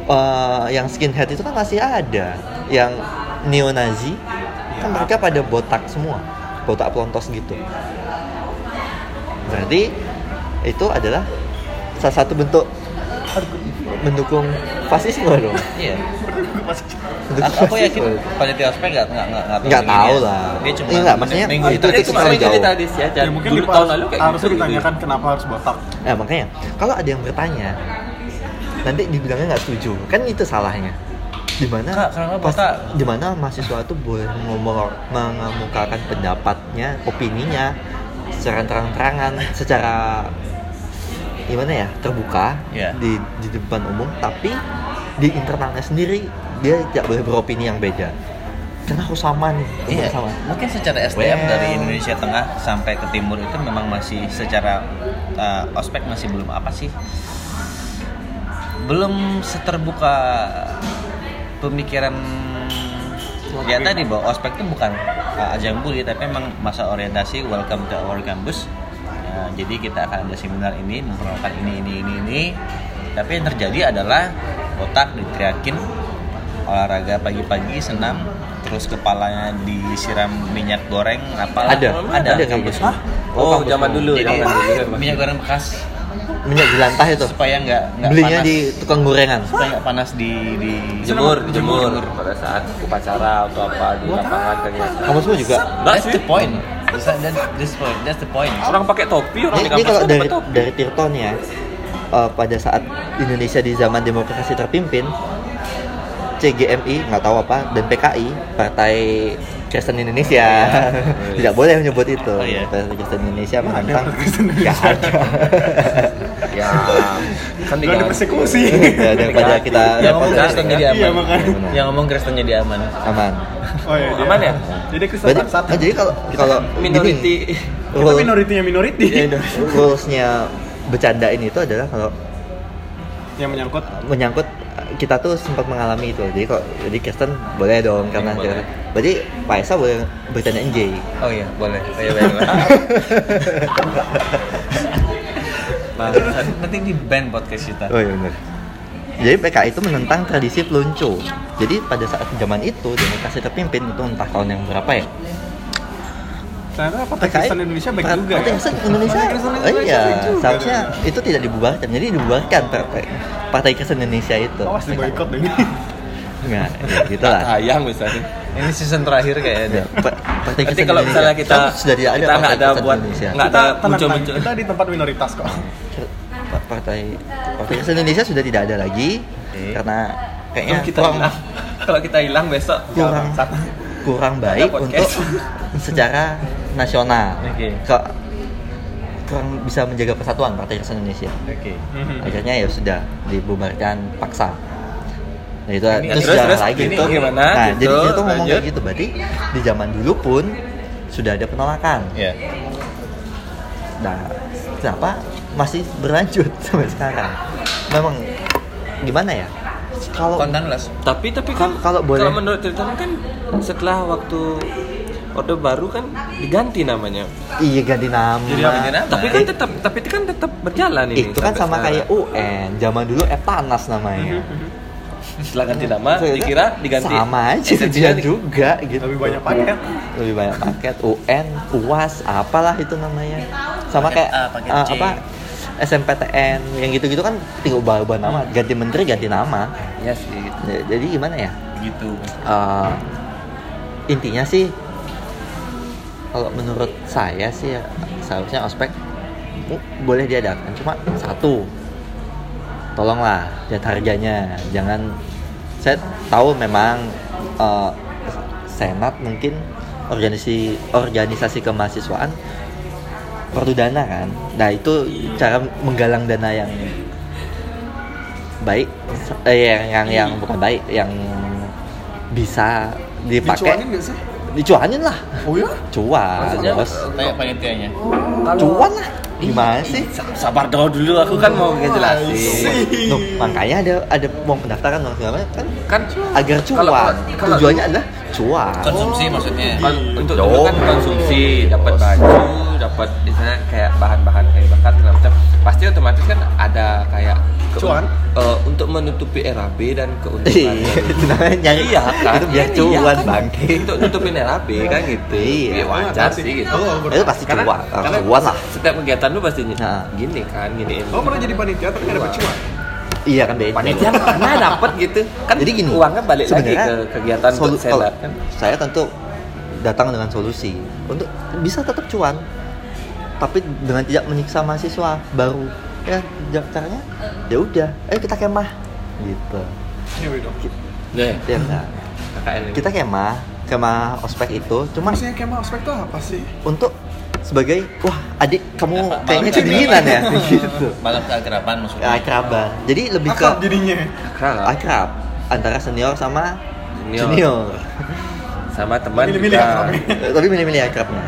Speaker 1: eh, yang skinhead itu kan masih ada yang neo Nazi kan mereka pada botak semua botak pelontos gitu berarti itu adalah salah satu bentuk mendukung fasisme dong
Speaker 2: Iya.
Speaker 1: Mendukung
Speaker 2: Aku, aku yakin
Speaker 1: fasisme.
Speaker 2: panitia ospek nggak nggak nggak nggak
Speaker 1: Nggak
Speaker 2: begini
Speaker 1: tahu
Speaker 2: ya.
Speaker 1: lah.
Speaker 2: Dia cuma
Speaker 1: Iya, nggak, maksudnya
Speaker 2: minggu
Speaker 1: itu-
Speaker 2: itu.
Speaker 1: itu-
Speaker 3: Itu kemarin
Speaker 1: jauh.
Speaker 3: cerita di si aja.
Speaker 4: Ya mungkin
Speaker 3: Dulu
Speaker 4: dipas-
Speaker 3: tahun lalu kayak
Speaker 4: harusnya
Speaker 3: gitu, Kan gitu.
Speaker 4: ditanyakan kenapa harus botak.
Speaker 1: Nah makanya kalau ada yang bertanya nanti dibilangnya nggak setuju kan itu salahnya dimana
Speaker 2: Kak, kenapa botak?
Speaker 1: dimana mahasiswa itu boleh ngomong mengemukakan pendapatnya opininya secara terang-terangan secara gimana ya terbuka
Speaker 2: Iya.
Speaker 1: di di depan umum tapi di internalnya sendiri dia tidak boleh beropini yang beda karena harus sama nih
Speaker 2: Iya,
Speaker 1: harus sama
Speaker 2: mungkin secara SDM
Speaker 1: Well.
Speaker 2: dari Indonesia Tengah sampai ke Timur itu memang masih secara uh, ospek masih belum apa sih? Belum seterbuka pemikiran ya tadi bahwa ospek itu bukan uh, ajang bully tapi memang masa orientasi welcome to our campus. Ya, jadi kita akan ada seminar ini memperkenalkan ini ini ini ini. Tapi yang terjadi adalah otak diteriakin olahraga pagi-pagi senam terus kepalanya disiram minyak goreng apa
Speaker 1: ada
Speaker 2: ada,
Speaker 1: ada kampus
Speaker 2: Hah?
Speaker 3: Oh,
Speaker 1: kampus.
Speaker 3: zaman dulu.
Speaker 2: jadi
Speaker 3: zaman dulu.
Speaker 2: minyak goreng bekas
Speaker 1: minyak jelantah itu
Speaker 2: supaya nggak nggak
Speaker 1: belinya
Speaker 2: panas
Speaker 1: di tukang gorengan
Speaker 2: supaya nggak panas di di
Speaker 3: jemur, jemur pada saat upacara atau apa di lapangan kegiatan.
Speaker 1: kamu semua juga
Speaker 2: that's the point that's, that- that's the point that's the point
Speaker 3: Orang pakai topi, orang
Speaker 1: Ini,
Speaker 3: di
Speaker 1: ini
Speaker 3: kampus
Speaker 1: kalau
Speaker 3: kan
Speaker 1: dari
Speaker 3: pakai topi.
Speaker 1: dari Tirto nih ya, eh, pada saat Indonesia di zaman demokrasi terpimpin, CGMI nggak tahu apa dan PKI Partai Kristen Indonesia tidak boleh menyebut itu.
Speaker 2: Iya. Oh, iya.
Speaker 1: Partai Kristen Indonesia menantang nggak ada.
Speaker 3: Ya, kan
Speaker 4: Gak ada persekusi.
Speaker 1: Ya,
Speaker 3: iya,
Speaker 1: daripada kita
Speaker 2: yang ngomong
Speaker 1: daripada-
Speaker 2: Kristen jadi aman
Speaker 4: Iya, makanya.
Speaker 2: yang ngomong Kristen jadi aman
Speaker 1: aman.
Speaker 4: Oh iya, dia-
Speaker 3: Aman ya?
Speaker 4: Jadi Kristen
Speaker 1: Berarti,
Speaker 4: satu.
Speaker 1: ah, jadi kalau kalau
Speaker 3: minority.
Speaker 1: gini,
Speaker 4: Kita
Speaker 1: rule-
Speaker 4: minoritinya minoriti.
Speaker 3: Iya,
Speaker 1: rulesnya bercanda ini itu adalah kalau
Speaker 4: Yang menyangkut
Speaker 1: menyangkut eh, kita tuh sempat mengalami itu jadi kok jadi Kristen boleh dong karena
Speaker 2: Boleh.
Speaker 1: boleh. berarti Pak Esa boleh bercandain J
Speaker 2: oh iya boleh oh, iya, baik, baik. nanti di band podcast kita
Speaker 1: oh iya benar jadi PKI itu menentang tradisi peluncu jadi pada saat zaman itu demokrasi terpimpin itu entah tahun yang berapa ya
Speaker 4: ternyata apa Kristen Indonesia baik juga
Speaker 1: Partai
Speaker 4: ya.
Speaker 1: Kristen Indonesia,
Speaker 4: Partai Kristen
Speaker 1: oh, iya
Speaker 4: baik juga.
Speaker 1: seharusnya itu tidak dibubarkan jadi dibubarkan partai Partai Kristen Indonesia itu
Speaker 4: Awas di boykot deh.
Speaker 1: nggak ya, gitu lah
Speaker 3: Tayang misalnya.
Speaker 2: ini season terakhir
Speaker 1: Ya,
Speaker 2: kayaknya
Speaker 1: pa- Partai
Speaker 3: Nanti
Speaker 1: Kristen
Speaker 3: kalau
Speaker 1: Indonesia.
Speaker 3: misalnya kita
Speaker 1: Sekarang ya. sudah tidak ada
Speaker 3: kita nggak
Speaker 1: Partai
Speaker 3: ada
Speaker 1: Kristen
Speaker 3: buat
Speaker 1: Indonesia.
Speaker 3: nggak ada
Speaker 4: Kita tenang, tenang.
Speaker 3: muncul-muncul.
Speaker 4: Kita di tempat minoritas kok.
Speaker 1: Pa- partai partai Kristen Indonesia sudah tidak ada lagi
Speaker 2: Oke.
Speaker 1: karena kayaknya
Speaker 3: Kalau kita
Speaker 1: kurang, Ya,
Speaker 3: hilang, kalau kita hilang besok
Speaker 1: kurang kurang baik untuk
Speaker 3: podcast.
Speaker 1: secara nasional
Speaker 2: Oke.
Speaker 1: Ke- kurang bisa menjaga persatuan partai Kristen Indonesia
Speaker 2: oke
Speaker 1: akhirnya ya sudah dibubarkan paksa nah, itu
Speaker 3: Ini-
Speaker 1: itu
Speaker 3: terus-
Speaker 1: sejarah
Speaker 3: terus
Speaker 1: lagi
Speaker 3: ini
Speaker 1: tuh.
Speaker 3: gimana?
Speaker 1: nah
Speaker 3: Gitu,
Speaker 1: jadi dia tuh ngomong kayak
Speaker 3: lanjut.
Speaker 1: gitu berarti di zaman dulu pun sudah ada penolakan
Speaker 2: ya
Speaker 3: Iya.
Speaker 1: Nah, kenapa masih berlanjut sampai sekarang? Memang gimana ya? Kalau
Speaker 2: kontenless
Speaker 3: Tapi tapi kan
Speaker 1: Kalau boleh.
Speaker 3: kalau menurut ceritanya kan setelah waktu Orde Baru kan diganti namanya.
Speaker 1: iya ganti nama.
Speaker 2: Jadi apa ganti nama?
Speaker 3: Tapi kan tetap tapi kan tetap berjalan ini.
Speaker 1: Nah, Itu kan
Speaker 3: sampai
Speaker 1: sama kayak
Speaker 3: sekarang.
Speaker 1: UN, zaman dulu Eptanas namanya.
Speaker 3: setelah ganti nama
Speaker 1: Maksudnya kan
Speaker 3: dikira diganti
Speaker 1: sama aja dia
Speaker 3: esensinya di-
Speaker 1: juga gitu.
Speaker 4: Lebih banyak paket.
Speaker 1: Lebih banyak paket UN, UAS, apalah itu namanya. Sama
Speaker 2: Paket
Speaker 1: kayak
Speaker 2: A, paket
Speaker 1: eh,
Speaker 2: C.
Speaker 1: apa? SMPTN yang gitu-gitu kan tinggal ubah-ubah nama, ganti menteri ganti nama.
Speaker 3: Ya sih.
Speaker 1: Ya, Jadi gimana ya?
Speaker 2: gimana gitu
Speaker 1: Eh, intinya sih kalau menurut saya sih ya, seharusnya ospek bu- boleh diadakan cuma satu tolonglah lihat harganya jangan saya tahu memang eh, senat mungkin organisasi organisasi kemahasiswaan perlu dana kan nah itu cara menggalang dana yang baik eh, yang yang, yang bukan baik yang bisa dipakai
Speaker 4: Dicuanin nggak sih?
Speaker 1: dicuanin lah
Speaker 4: Oh ya?
Speaker 1: cuan
Speaker 2: aja
Speaker 1: bos
Speaker 2: tanya panitianya
Speaker 1: cuan lah gimana sih
Speaker 3: Sabar dong dulu, aku kan mau ngejelasin.
Speaker 4: Sih.
Speaker 1: Loh, makanya ada ada uang pendaftaran uang segala macam, kan
Speaker 3: Kan
Speaker 1: agar
Speaker 3: Kalau-
Speaker 1: cuan
Speaker 3: kalau-
Speaker 1: tujuannya Oh, iya. adalah cuan
Speaker 2: konsumsi maksudnya
Speaker 3: Kon- untuk dulu kan konsumsi dapat baju dapat misalnya kayak bahan-bahan kayak makan segala macam pasti otomatis kan ada kayak ke-
Speaker 4: Cuan.
Speaker 3: eh, untuk menutupi RAB dan
Speaker 1: Iya,
Speaker 3: keuntungan
Speaker 1: itu namanya nyari
Speaker 3: iya kan
Speaker 1: itu biar
Speaker 3: Iya,
Speaker 1: cuan
Speaker 3: kan.
Speaker 1: bangke
Speaker 3: untuk nutupin RAB kan gitu
Speaker 1: Iya.
Speaker 3: Ya, wajar sih gitu
Speaker 4: Oh, bener.
Speaker 1: itu pasti
Speaker 3: Karena-
Speaker 1: cuan Ah,
Speaker 3: karena
Speaker 1: cuan lah
Speaker 3: setiap kegiatan lu pasti
Speaker 1: Nah.
Speaker 3: gini kan gini
Speaker 4: Oh pernah jadi panitia tapi nggak dapat cuan.
Speaker 1: iya kan beda
Speaker 3: panitia mana dapat gitu kan
Speaker 1: jadi gini
Speaker 3: uangnya balik lagi
Speaker 1: sebenarnya
Speaker 3: ke kegiatan
Speaker 1: solu-
Speaker 3: untuk seller
Speaker 1: kalau
Speaker 3: kan
Speaker 1: saya tentu datang dengan solusi untuk bisa tetap cuan tapi dengan tidak menyiksa mahasiswa baru ya ja- caranya ya udah ayo kita kemah gitu
Speaker 4: Cewek dong.
Speaker 3: Nih,
Speaker 1: ya enggak
Speaker 3: KKN ini.
Speaker 1: kita kemah kemah ospek itu cuma
Speaker 4: Maksudnya kemah ospek tuh apa sih?
Speaker 3: Hmm.
Speaker 1: untuk sebagai wah adik kamu
Speaker 2: Apa-
Speaker 1: kayaknya
Speaker 2: malam-
Speaker 1: kedinginan ya gitu
Speaker 2: malam keakraban maksudnya
Speaker 1: ya, akraban jadi lebih ke
Speaker 4: Akrab jadinya.
Speaker 3: Kakak lah.
Speaker 1: akrab antara senior sama
Speaker 3: Junior.
Speaker 1: junior.
Speaker 3: sama teman kita
Speaker 4: Milih-milih
Speaker 3: Iya kan?
Speaker 4: akrabnya.
Speaker 1: Eh, tapi milih-milih akrabnya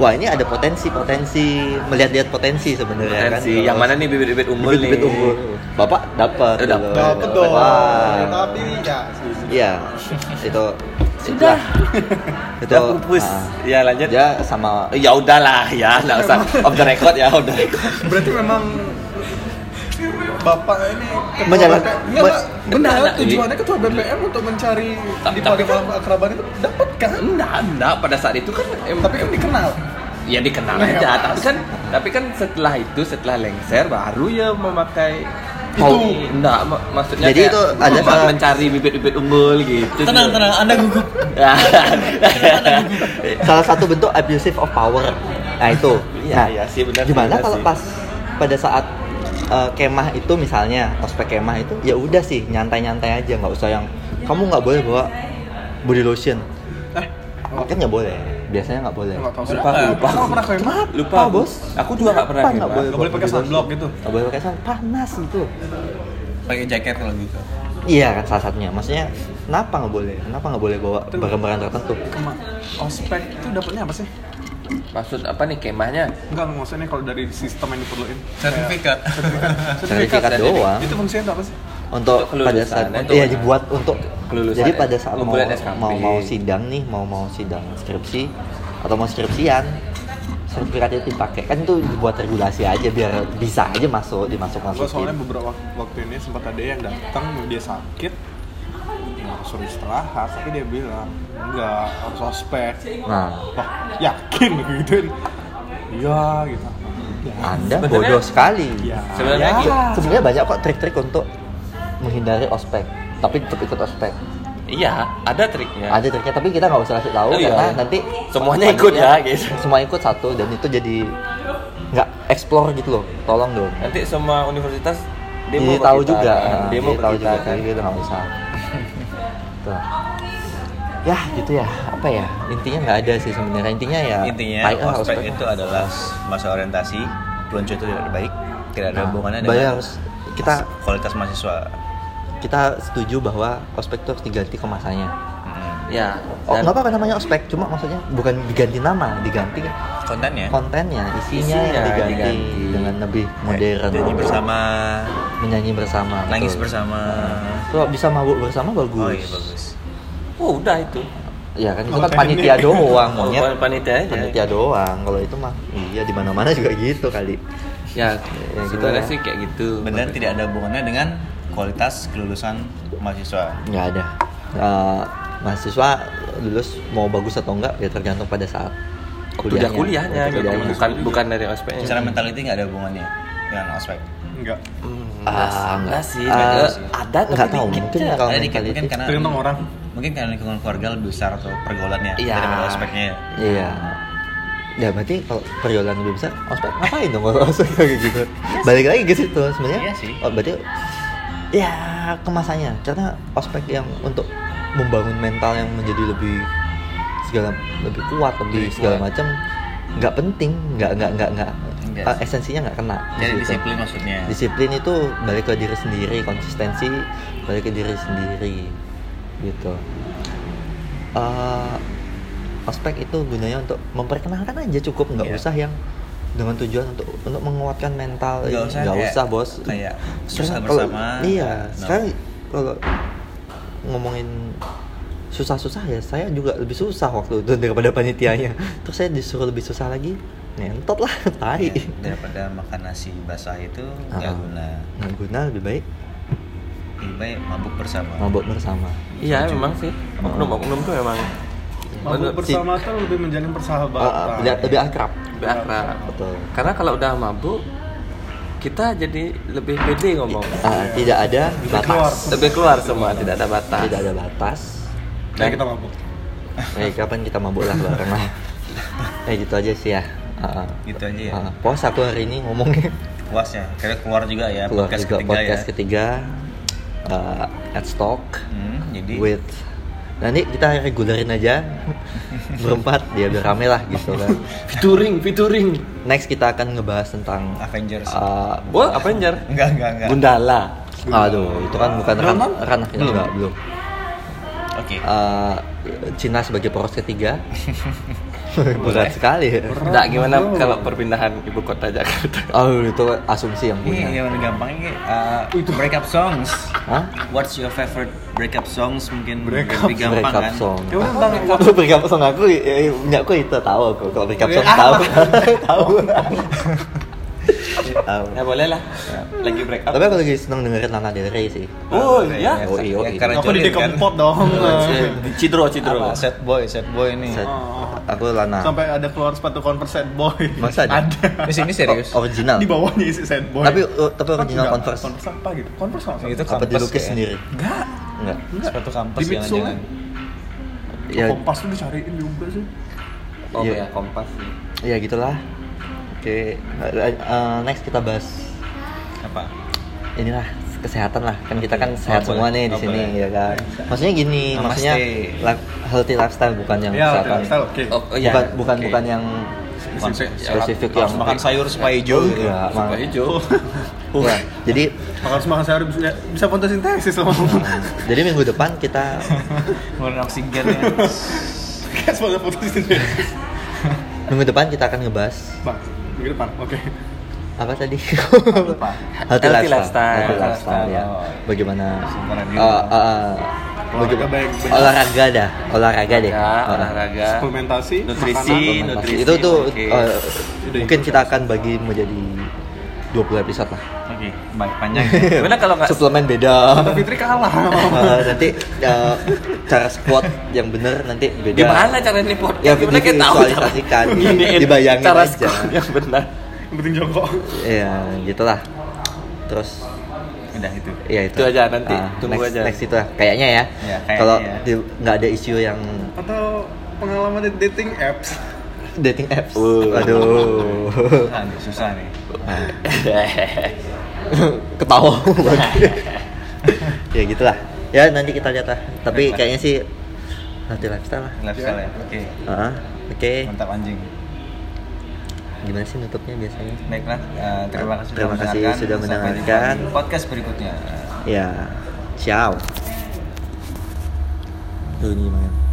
Speaker 1: wah ini ada potensi potensi melihat-lihat potensi sebenarnya kan
Speaker 3: Potensi. yang mana nih bibit-bibit unggul nih? Iya.
Speaker 1: bibit unggul bapak dapat
Speaker 3: Eh, dapet.
Speaker 4: Dapat dong.
Speaker 1: wah
Speaker 4: Tapi ya.
Speaker 1: iya itu sudah itu
Speaker 3: Udah pupus.
Speaker 1: ah.
Speaker 3: ya lanjut.
Speaker 1: dia
Speaker 3: Ya,
Speaker 1: sama
Speaker 3: ya udahlah ya, nggak usah off the record ya, off the record.
Speaker 4: Berarti memang Bapak ini ketua
Speaker 1: Menjalan-
Speaker 4: BPM. Enggak,
Speaker 1: men-
Speaker 4: Pak. benar
Speaker 3: enggak,
Speaker 4: tujuannya ketua BPM untuk mencari
Speaker 3: Ta-
Speaker 4: di
Speaker 3: tapi
Speaker 4: pada malam akraban itu dapat kan?
Speaker 3: Enggak, enggak pada saat itu kan em-
Speaker 4: Tapi kan dikenal.
Speaker 3: ya dikenal
Speaker 2: Iya,
Speaker 4: Nah, ya,
Speaker 3: aja, tapi
Speaker 4: pas.
Speaker 3: kan tapi kan setelah itu setelah lengser baru ya memakai
Speaker 1: Oh.
Speaker 3: Ini. enggak mak- maksudnya
Speaker 1: Jadi
Speaker 3: kayak
Speaker 1: itu ada
Speaker 3: cuma
Speaker 1: salah-
Speaker 3: mencari bibit-bibit unggul gitu.
Speaker 2: tenang tenang anda gugup
Speaker 1: salah satu bentuk abusive of power nah itu
Speaker 3: Iya,
Speaker 1: nah,
Speaker 3: iya sih, benar,
Speaker 1: gimana
Speaker 3: benar
Speaker 1: kalau
Speaker 3: sih.
Speaker 1: pas pada saat eh, kemah itu misalnya ospek kemah itu ya udah sih nyantai-nyantai aja nggak usah yang kamu nggak boleh bawa body lotion
Speaker 4: Eh, oh,
Speaker 1: kan nggak boleh biasanya nggak boleh
Speaker 4: enggak tahu
Speaker 3: Lupa,
Speaker 4: kenapa.
Speaker 3: lupa.
Speaker 4: Kenapa pernah kemah?
Speaker 3: Lupa,
Speaker 1: Apa, Bos?
Speaker 3: Aku juga nggak pernah.
Speaker 1: Kenapa
Speaker 3: kena.
Speaker 1: nggak boleh
Speaker 4: Nggak boleh pakai sunblock gitu.
Speaker 1: nggak boleh pakai sun- panas gitu
Speaker 2: pakai jaket kalau gitu
Speaker 1: iya kan salah satunya maksudnya kenapa nggak boleh kenapa nggak boleh bawa barang-barang tertentu
Speaker 4: Kemah. Ospek itu dapatnya apa sih?
Speaker 3: Maksud apa nih kemahnya?
Speaker 4: Enggak maksudnya kalau dari sistem yang diperluin.
Speaker 2: sertifikat
Speaker 1: sertifikat
Speaker 3: sertifikat. ya, gitu
Speaker 1: doang
Speaker 4: Itu fungsinya untuk apa sih?
Speaker 1: untuk
Speaker 3: Untuk
Speaker 1: pada
Speaker 3: kelulusan,
Speaker 1: saat
Speaker 3: untuk-
Speaker 1: iya dibuat untuk
Speaker 3: kelulusan,
Speaker 1: jadi
Speaker 3: ya.
Speaker 1: pada saat mau
Speaker 3: Kumpulan SKP.
Speaker 1: mau mau sidang nih mau mau sidang skripsi atau mau skripsian sertifikat itu dipakai kan itu dibuat regulasi aja biar bisa aja masuk dimasuk
Speaker 4: Gua soalnya
Speaker 1: masukin
Speaker 4: beberapa wak- waktu ini sempat ada yang datang dia sakit Nah, suruh istirahat tapi dia bilang enggak harus ospek
Speaker 1: nah
Speaker 4: wah yakin gituin iya gitu ya
Speaker 1: anda
Speaker 3: Sebenarnya-
Speaker 1: bodoh sekali
Speaker 4: ya
Speaker 3: Sebenarnya
Speaker 4: ya.
Speaker 3: gitu.
Speaker 1: sebenarnya banyak kok trik-trik untuk menghindari ospek tapi tetap ikut ospek
Speaker 3: Iya, ada triknya.
Speaker 1: ada triknya tapi kita nggak usah kasih tahu
Speaker 3: Oh, iya.
Speaker 1: karena nanti
Speaker 3: Semuanya
Speaker 1: panitia-
Speaker 3: ikut ya, guys.
Speaker 1: semua ikut satu dan itu jadi nggak explore gitu loh tolong dong
Speaker 3: Nanti semua universitas
Speaker 1: Demo
Speaker 3: demo
Speaker 1: Iya, tahu
Speaker 3: ke kita,
Speaker 1: juga,
Speaker 3: kan?
Speaker 1: nah,
Speaker 3: demo
Speaker 1: jadi
Speaker 3: ke
Speaker 1: tahu
Speaker 3: kita,
Speaker 1: juga
Speaker 3: kan?
Speaker 1: jadi itu nggak usah. Tuh. Ya gitu ya, apa ya intinya nggak ada sih sebenarnya intinya ya.
Speaker 2: intinya
Speaker 1: baik lah,
Speaker 2: ospek
Speaker 1: ospek.
Speaker 2: itu adalah masa orientasi peluncuran itu tidak baik tidak ada
Speaker 1: Nah,
Speaker 2: hubungannya
Speaker 1: bayar
Speaker 2: dengan
Speaker 1: harus- kita-
Speaker 2: kualitas mahasiswa
Speaker 1: Kita setuju bahwa ospek itu harus diganti kemasannya.
Speaker 2: Mm.
Speaker 3: Ya.
Speaker 1: Oh
Speaker 3: dan-
Speaker 1: nggak apa-apa namanya ospek, cuma maksudnya bukan diganti nama, diganti
Speaker 2: kontennya
Speaker 1: kontennya, Eh. isinya, yang
Speaker 3: Isinya
Speaker 1: diganti, Eh,
Speaker 3: diganti.
Speaker 1: dengan lebih modern.
Speaker 2: nyanyi bersama
Speaker 1: menyanyi bersama,
Speaker 2: nangis
Speaker 1: betul.
Speaker 2: bersama
Speaker 1: Kalau bisa mabuk bersama bagus.
Speaker 2: oh iya bagus
Speaker 3: Oh, udah itu.
Speaker 1: Ya kan itu kan
Speaker 4: Kontennya.
Speaker 1: panitia doang, monyet.
Speaker 3: Bukan panitia aja.
Speaker 1: panitia doang kalau itu mah iya di mana mana juga gitu kali
Speaker 3: Ya,
Speaker 1: Ya, gitu
Speaker 3: sebenarnya
Speaker 1: ya.
Speaker 3: sih kayak gitu.
Speaker 2: benar tidak ada hubungannya dengan kualitas kelulusan mahasiswa
Speaker 1: nggak ada Eh, mahasiswa lulus mau bagus atau enggak ya tergantung pada saat
Speaker 3: Udah
Speaker 1: kuliahnya,
Speaker 3: kuliahnya,
Speaker 1: Waktu
Speaker 3: gitu.
Speaker 1: kuliahnya.
Speaker 3: bukan bukan dari ospeknya.
Speaker 2: secara mentality nggak ada hubungannya dengan ospek
Speaker 4: enggak
Speaker 3: Hmm,
Speaker 1: Ah,
Speaker 3: enggak
Speaker 1: enggak
Speaker 3: sih.
Speaker 1: Ah,
Speaker 3: enggak- ada tapi
Speaker 1: nggak tahu
Speaker 3: dikit
Speaker 1: mungkin
Speaker 3: ya.
Speaker 1: kalau
Speaker 2: ada dikit
Speaker 1: mentality-
Speaker 2: mungkin karena
Speaker 4: tergantung orang
Speaker 2: mungkin karena lingkungan keluarga lebih besar atau pergaulannya
Speaker 1: Iya.
Speaker 2: daripada ospeknya ya.
Speaker 1: Iya. Ya berarti kalau pergaulan lebih besar, ospek ngapain dong kalau ospek kayak gitu? Balik lagi ke situ sebenarnya.
Speaker 2: Iya sih.
Speaker 1: Oh, berarti ya kemasannya karena ospek yang untuk membangun mental yang menjadi lebih segala lebih kuat lebih
Speaker 2: Lebih
Speaker 1: segala
Speaker 2: kuat.
Speaker 1: macam nggak penting nggak nggak nggak nggak
Speaker 2: Nggak
Speaker 1: eh,
Speaker 2: sih.
Speaker 1: esensinya nggak kena di
Speaker 2: Jadi
Speaker 1: situ.
Speaker 2: disiplin maksudnya.
Speaker 1: disiplin itu balik ke diri sendiri konsistensi balik ke diri sendiri gitu Eh, ospek itu gunanya untuk memperkenalkan aja cukup nggak
Speaker 2: Iya.
Speaker 1: usah yang dengan tujuan untuk untuk menguatkan mental
Speaker 2: Nggak usah
Speaker 1: nggak
Speaker 2: kayak-
Speaker 1: usah bos
Speaker 2: kayak
Speaker 1: Sekarang
Speaker 2: susah
Speaker 1: kalau-
Speaker 2: bersama. Nah.
Speaker 1: iya
Speaker 2: No.
Speaker 1: sekarang kalau ngomongin susah-susah ya saya juga lebih susah waktu itu daripada panitianya terus saya disuruh lebih susah lagi nentot lah tai
Speaker 2: Ya, daripada makan nasi basah itu nggak
Speaker 1: Ah.
Speaker 2: guna.
Speaker 1: nggak guna lebih baik
Speaker 2: Lebih baik mabuk bersama.
Speaker 1: mabuk bersama
Speaker 3: Iya memang sih. Oknum-oknum tuh emang
Speaker 4: Mabuk
Speaker 1: si-
Speaker 4: bersama tuh lebih
Speaker 1: Ah,
Speaker 4: menjalin
Speaker 1: ah,
Speaker 4: persahabatan.
Speaker 1: lebih, lebih akrab
Speaker 3: lebih akrab.
Speaker 1: betul
Speaker 3: Karena kalau udah mabuk kita jadi lebih pede ngomong.
Speaker 1: Ah, tidak ada
Speaker 4: Lebih keluar.
Speaker 1: batas
Speaker 3: Lebih keluar semua, tidak ada batas.
Speaker 1: tidak ada batas
Speaker 4: Dan Nah, kita mabuk.
Speaker 1: eh kapan kita mabuk lah bareng lah eh gitu aja sih ya Ah, ah.
Speaker 2: Gitu aja ya.
Speaker 1: Ah, puas aku hari ini ngomongnya
Speaker 2: Puas ya. Kira keluar juga ya
Speaker 1: keluar
Speaker 2: podcast
Speaker 1: juga
Speaker 2: ketiga
Speaker 1: podcast
Speaker 2: ya.
Speaker 1: ketiga uh, at stock
Speaker 2: Hmm, jadi
Speaker 1: with nanti kita regularin aja berempat dia biar rame lah gitu kan
Speaker 3: Featuring, featuring.
Speaker 1: next kita akan ngebahas tentang
Speaker 2: Avengers.
Speaker 1: uh,
Speaker 3: Wah, apa Jar?
Speaker 2: Enggak, enggak, enggak.
Speaker 1: Gundala aduh itu kan bukan
Speaker 2: Ya. Belum,
Speaker 1: ran
Speaker 2: Mam?
Speaker 1: ran
Speaker 2: Belum.
Speaker 1: enggak belum
Speaker 2: Oke.
Speaker 1: Uh, Cina sebagai poros ketiga berat sekali
Speaker 3: Enggak gimana kalau perpindahan ibu kota Jakarta.
Speaker 1: oh itu asumsi yang
Speaker 2: Ini
Speaker 1: punya
Speaker 2: yang paling gampang ini uh, breakup songs.
Speaker 1: Hah?
Speaker 2: What's your favorite breakup songs mungkin
Speaker 4: Breakup-
Speaker 2: lebih gampang
Speaker 1: breakup
Speaker 2: kan?
Speaker 1: song.
Speaker 4: Ya udah ntar
Speaker 1: Kalau breakup song aku, ya, ya, punya aku itu tahu aku. Kalau breakup song
Speaker 2: Ah,
Speaker 1: tahu, tahu. Tahu.
Speaker 3: Ya boleh lah. Lagi break up.
Speaker 1: Tapi aku lagi seneng dengerin Lana Del Rey sih.
Speaker 3: Oh
Speaker 2: Ya,
Speaker 3: iya.
Speaker 1: Oh, iya, oh,
Speaker 2: ya,
Speaker 1: iya.
Speaker 2: karena
Speaker 4: Aku di
Speaker 2: julid kan?
Speaker 4: dikempot dong.
Speaker 3: Cidro, cidro.
Speaker 2: Apa? Sad boy, sad boy ini.
Speaker 1: Set-
Speaker 4: Oh.
Speaker 1: Aku Lana.
Speaker 4: Sampai ada keluar sepatu Converse sad boy.
Speaker 1: Masa ada?
Speaker 2: Di sini serius.
Speaker 1: O- original.
Speaker 4: Di bawahnya isi sad boy.
Speaker 1: Tapi uh, tapi
Speaker 4: Apa
Speaker 1: original
Speaker 4: enggak?
Speaker 1: Converse.
Speaker 4: Converse apa gitu? Converse apa?
Speaker 2: Itu
Speaker 1: Apa
Speaker 2: kampus
Speaker 1: dilukis
Speaker 2: kayaknya.
Speaker 1: sendiri?
Speaker 4: Enggak.
Speaker 1: Enggak.
Speaker 4: Enggak.
Speaker 2: Sepatu kampus
Speaker 4: Di midsole.
Speaker 2: jangan-jangan.
Speaker 1: Ya,
Speaker 4: Kompas tuh dicariin juga sih.
Speaker 3: Oh
Speaker 1: Iya.
Speaker 3: ya, kompas.
Speaker 1: ya gitulah. Oke, eh, eh, next kita bahas
Speaker 2: Apa?
Speaker 1: inilah kesehatan lah kan kita kan
Speaker 2: Oke.
Speaker 1: sehat
Speaker 2: Oh,
Speaker 1: semua
Speaker 2: boleh.
Speaker 1: nih di
Speaker 2: Oh,
Speaker 1: sini
Speaker 2: boleh.
Speaker 1: ya kan maksudnya gini
Speaker 2: Namaste.
Speaker 1: maksudnya li- healthy lifestyle bukan yang
Speaker 4: Iya,
Speaker 1: kesehatan
Speaker 4: lifestyle, oke.
Speaker 3: Oh, oh, iya.
Speaker 1: bukan bukan
Speaker 3: Oke.
Speaker 1: bukan yang
Speaker 2: Konsep
Speaker 1: spesifik
Speaker 2: ya, harus
Speaker 1: yang
Speaker 2: makan sayur supaya hijau gitu.
Speaker 1: Enggak,
Speaker 3: Sumpah
Speaker 1: makan-
Speaker 3: hijau.
Speaker 1: Enggak. jadi
Speaker 4: Makan semangka saya bisa, ya, bisa fotosintesis loh.
Speaker 1: jadi minggu depan kita
Speaker 2: Ngeluarin oksigen ya.
Speaker 4: Kayak semangka fotosintesis.
Speaker 1: minggu depan kita akan ngebahas
Speaker 4: Bang, minggu depan. Oke.
Speaker 1: apa tadi
Speaker 2: Lupa.
Speaker 1: healthy
Speaker 3: Healthy
Speaker 1: lifestyle
Speaker 3: lifestyle.
Speaker 1: healthy lifestyle ya
Speaker 2: Oh.
Speaker 1: bagaimana
Speaker 2: Sumberan
Speaker 1: eh,
Speaker 2: juga.
Speaker 1: eh, eh,
Speaker 4: Olahraga
Speaker 1: bagaimana-
Speaker 4: baik-baik.
Speaker 1: olahraga dah olahraga deh
Speaker 3: Ya,
Speaker 1: Oh.
Speaker 3: olahraga.
Speaker 4: Suplementasi,
Speaker 3: Nutrisi,
Speaker 4: makanan,
Speaker 3: nutrisi.
Speaker 1: itu tuh
Speaker 3: oke.
Speaker 1: eh, mungkin kita akan bagi menjadi 20 episode lah.
Speaker 2: Oke, baik panjang ya.
Speaker 3: Gimana kalau nggak-
Speaker 1: suplemen beda?
Speaker 4: Fitri kalah.
Speaker 1: Eh, nanti eh, cara squat yang bener nanti beda.
Speaker 3: Gimana cara ini podcast?
Speaker 1: Ya,
Speaker 3: Gimana kita tahu cara-
Speaker 1: visualisasikan.
Speaker 3: Giniin
Speaker 1: Dibayangin
Speaker 3: cara
Speaker 1: aja.
Speaker 3: skor yang benar.
Speaker 4: Yang penting jongkok.
Speaker 1: Iya, gitulah. Terus
Speaker 2: Udah itu.
Speaker 1: ya itu.
Speaker 3: Itu aja, nanti.
Speaker 1: Ah,
Speaker 3: Tunggu
Speaker 1: next,
Speaker 3: aja.
Speaker 1: Next itu lah. kayaknya ya.
Speaker 2: Ya, kayaknya
Speaker 1: Kalau
Speaker 2: ya.
Speaker 1: di- nggak ada isu yang
Speaker 4: Atau pengalaman di dating apps.
Speaker 1: dating apps.
Speaker 3: Uh.
Speaker 1: Aduh.
Speaker 2: Susah nih, susah nih.
Speaker 1: Ah. ketawa ya gitulah ya nanti kita lihat lah tapi
Speaker 2: Baiklah.
Speaker 1: kayaknya sih nanti lifestyle lah
Speaker 2: Lifestyle ya. Oke.
Speaker 1: Ah, oke
Speaker 2: Mantap anjing.
Speaker 1: gimana sih nutupnya biasanya
Speaker 2: Baiklah, eh, terima kasih
Speaker 1: Terima kasih sudah
Speaker 2: Sampai jumpa
Speaker 1: mendengarkan.
Speaker 2: di podcast berikutnya.
Speaker 1: ya ciao tuh ini Mang.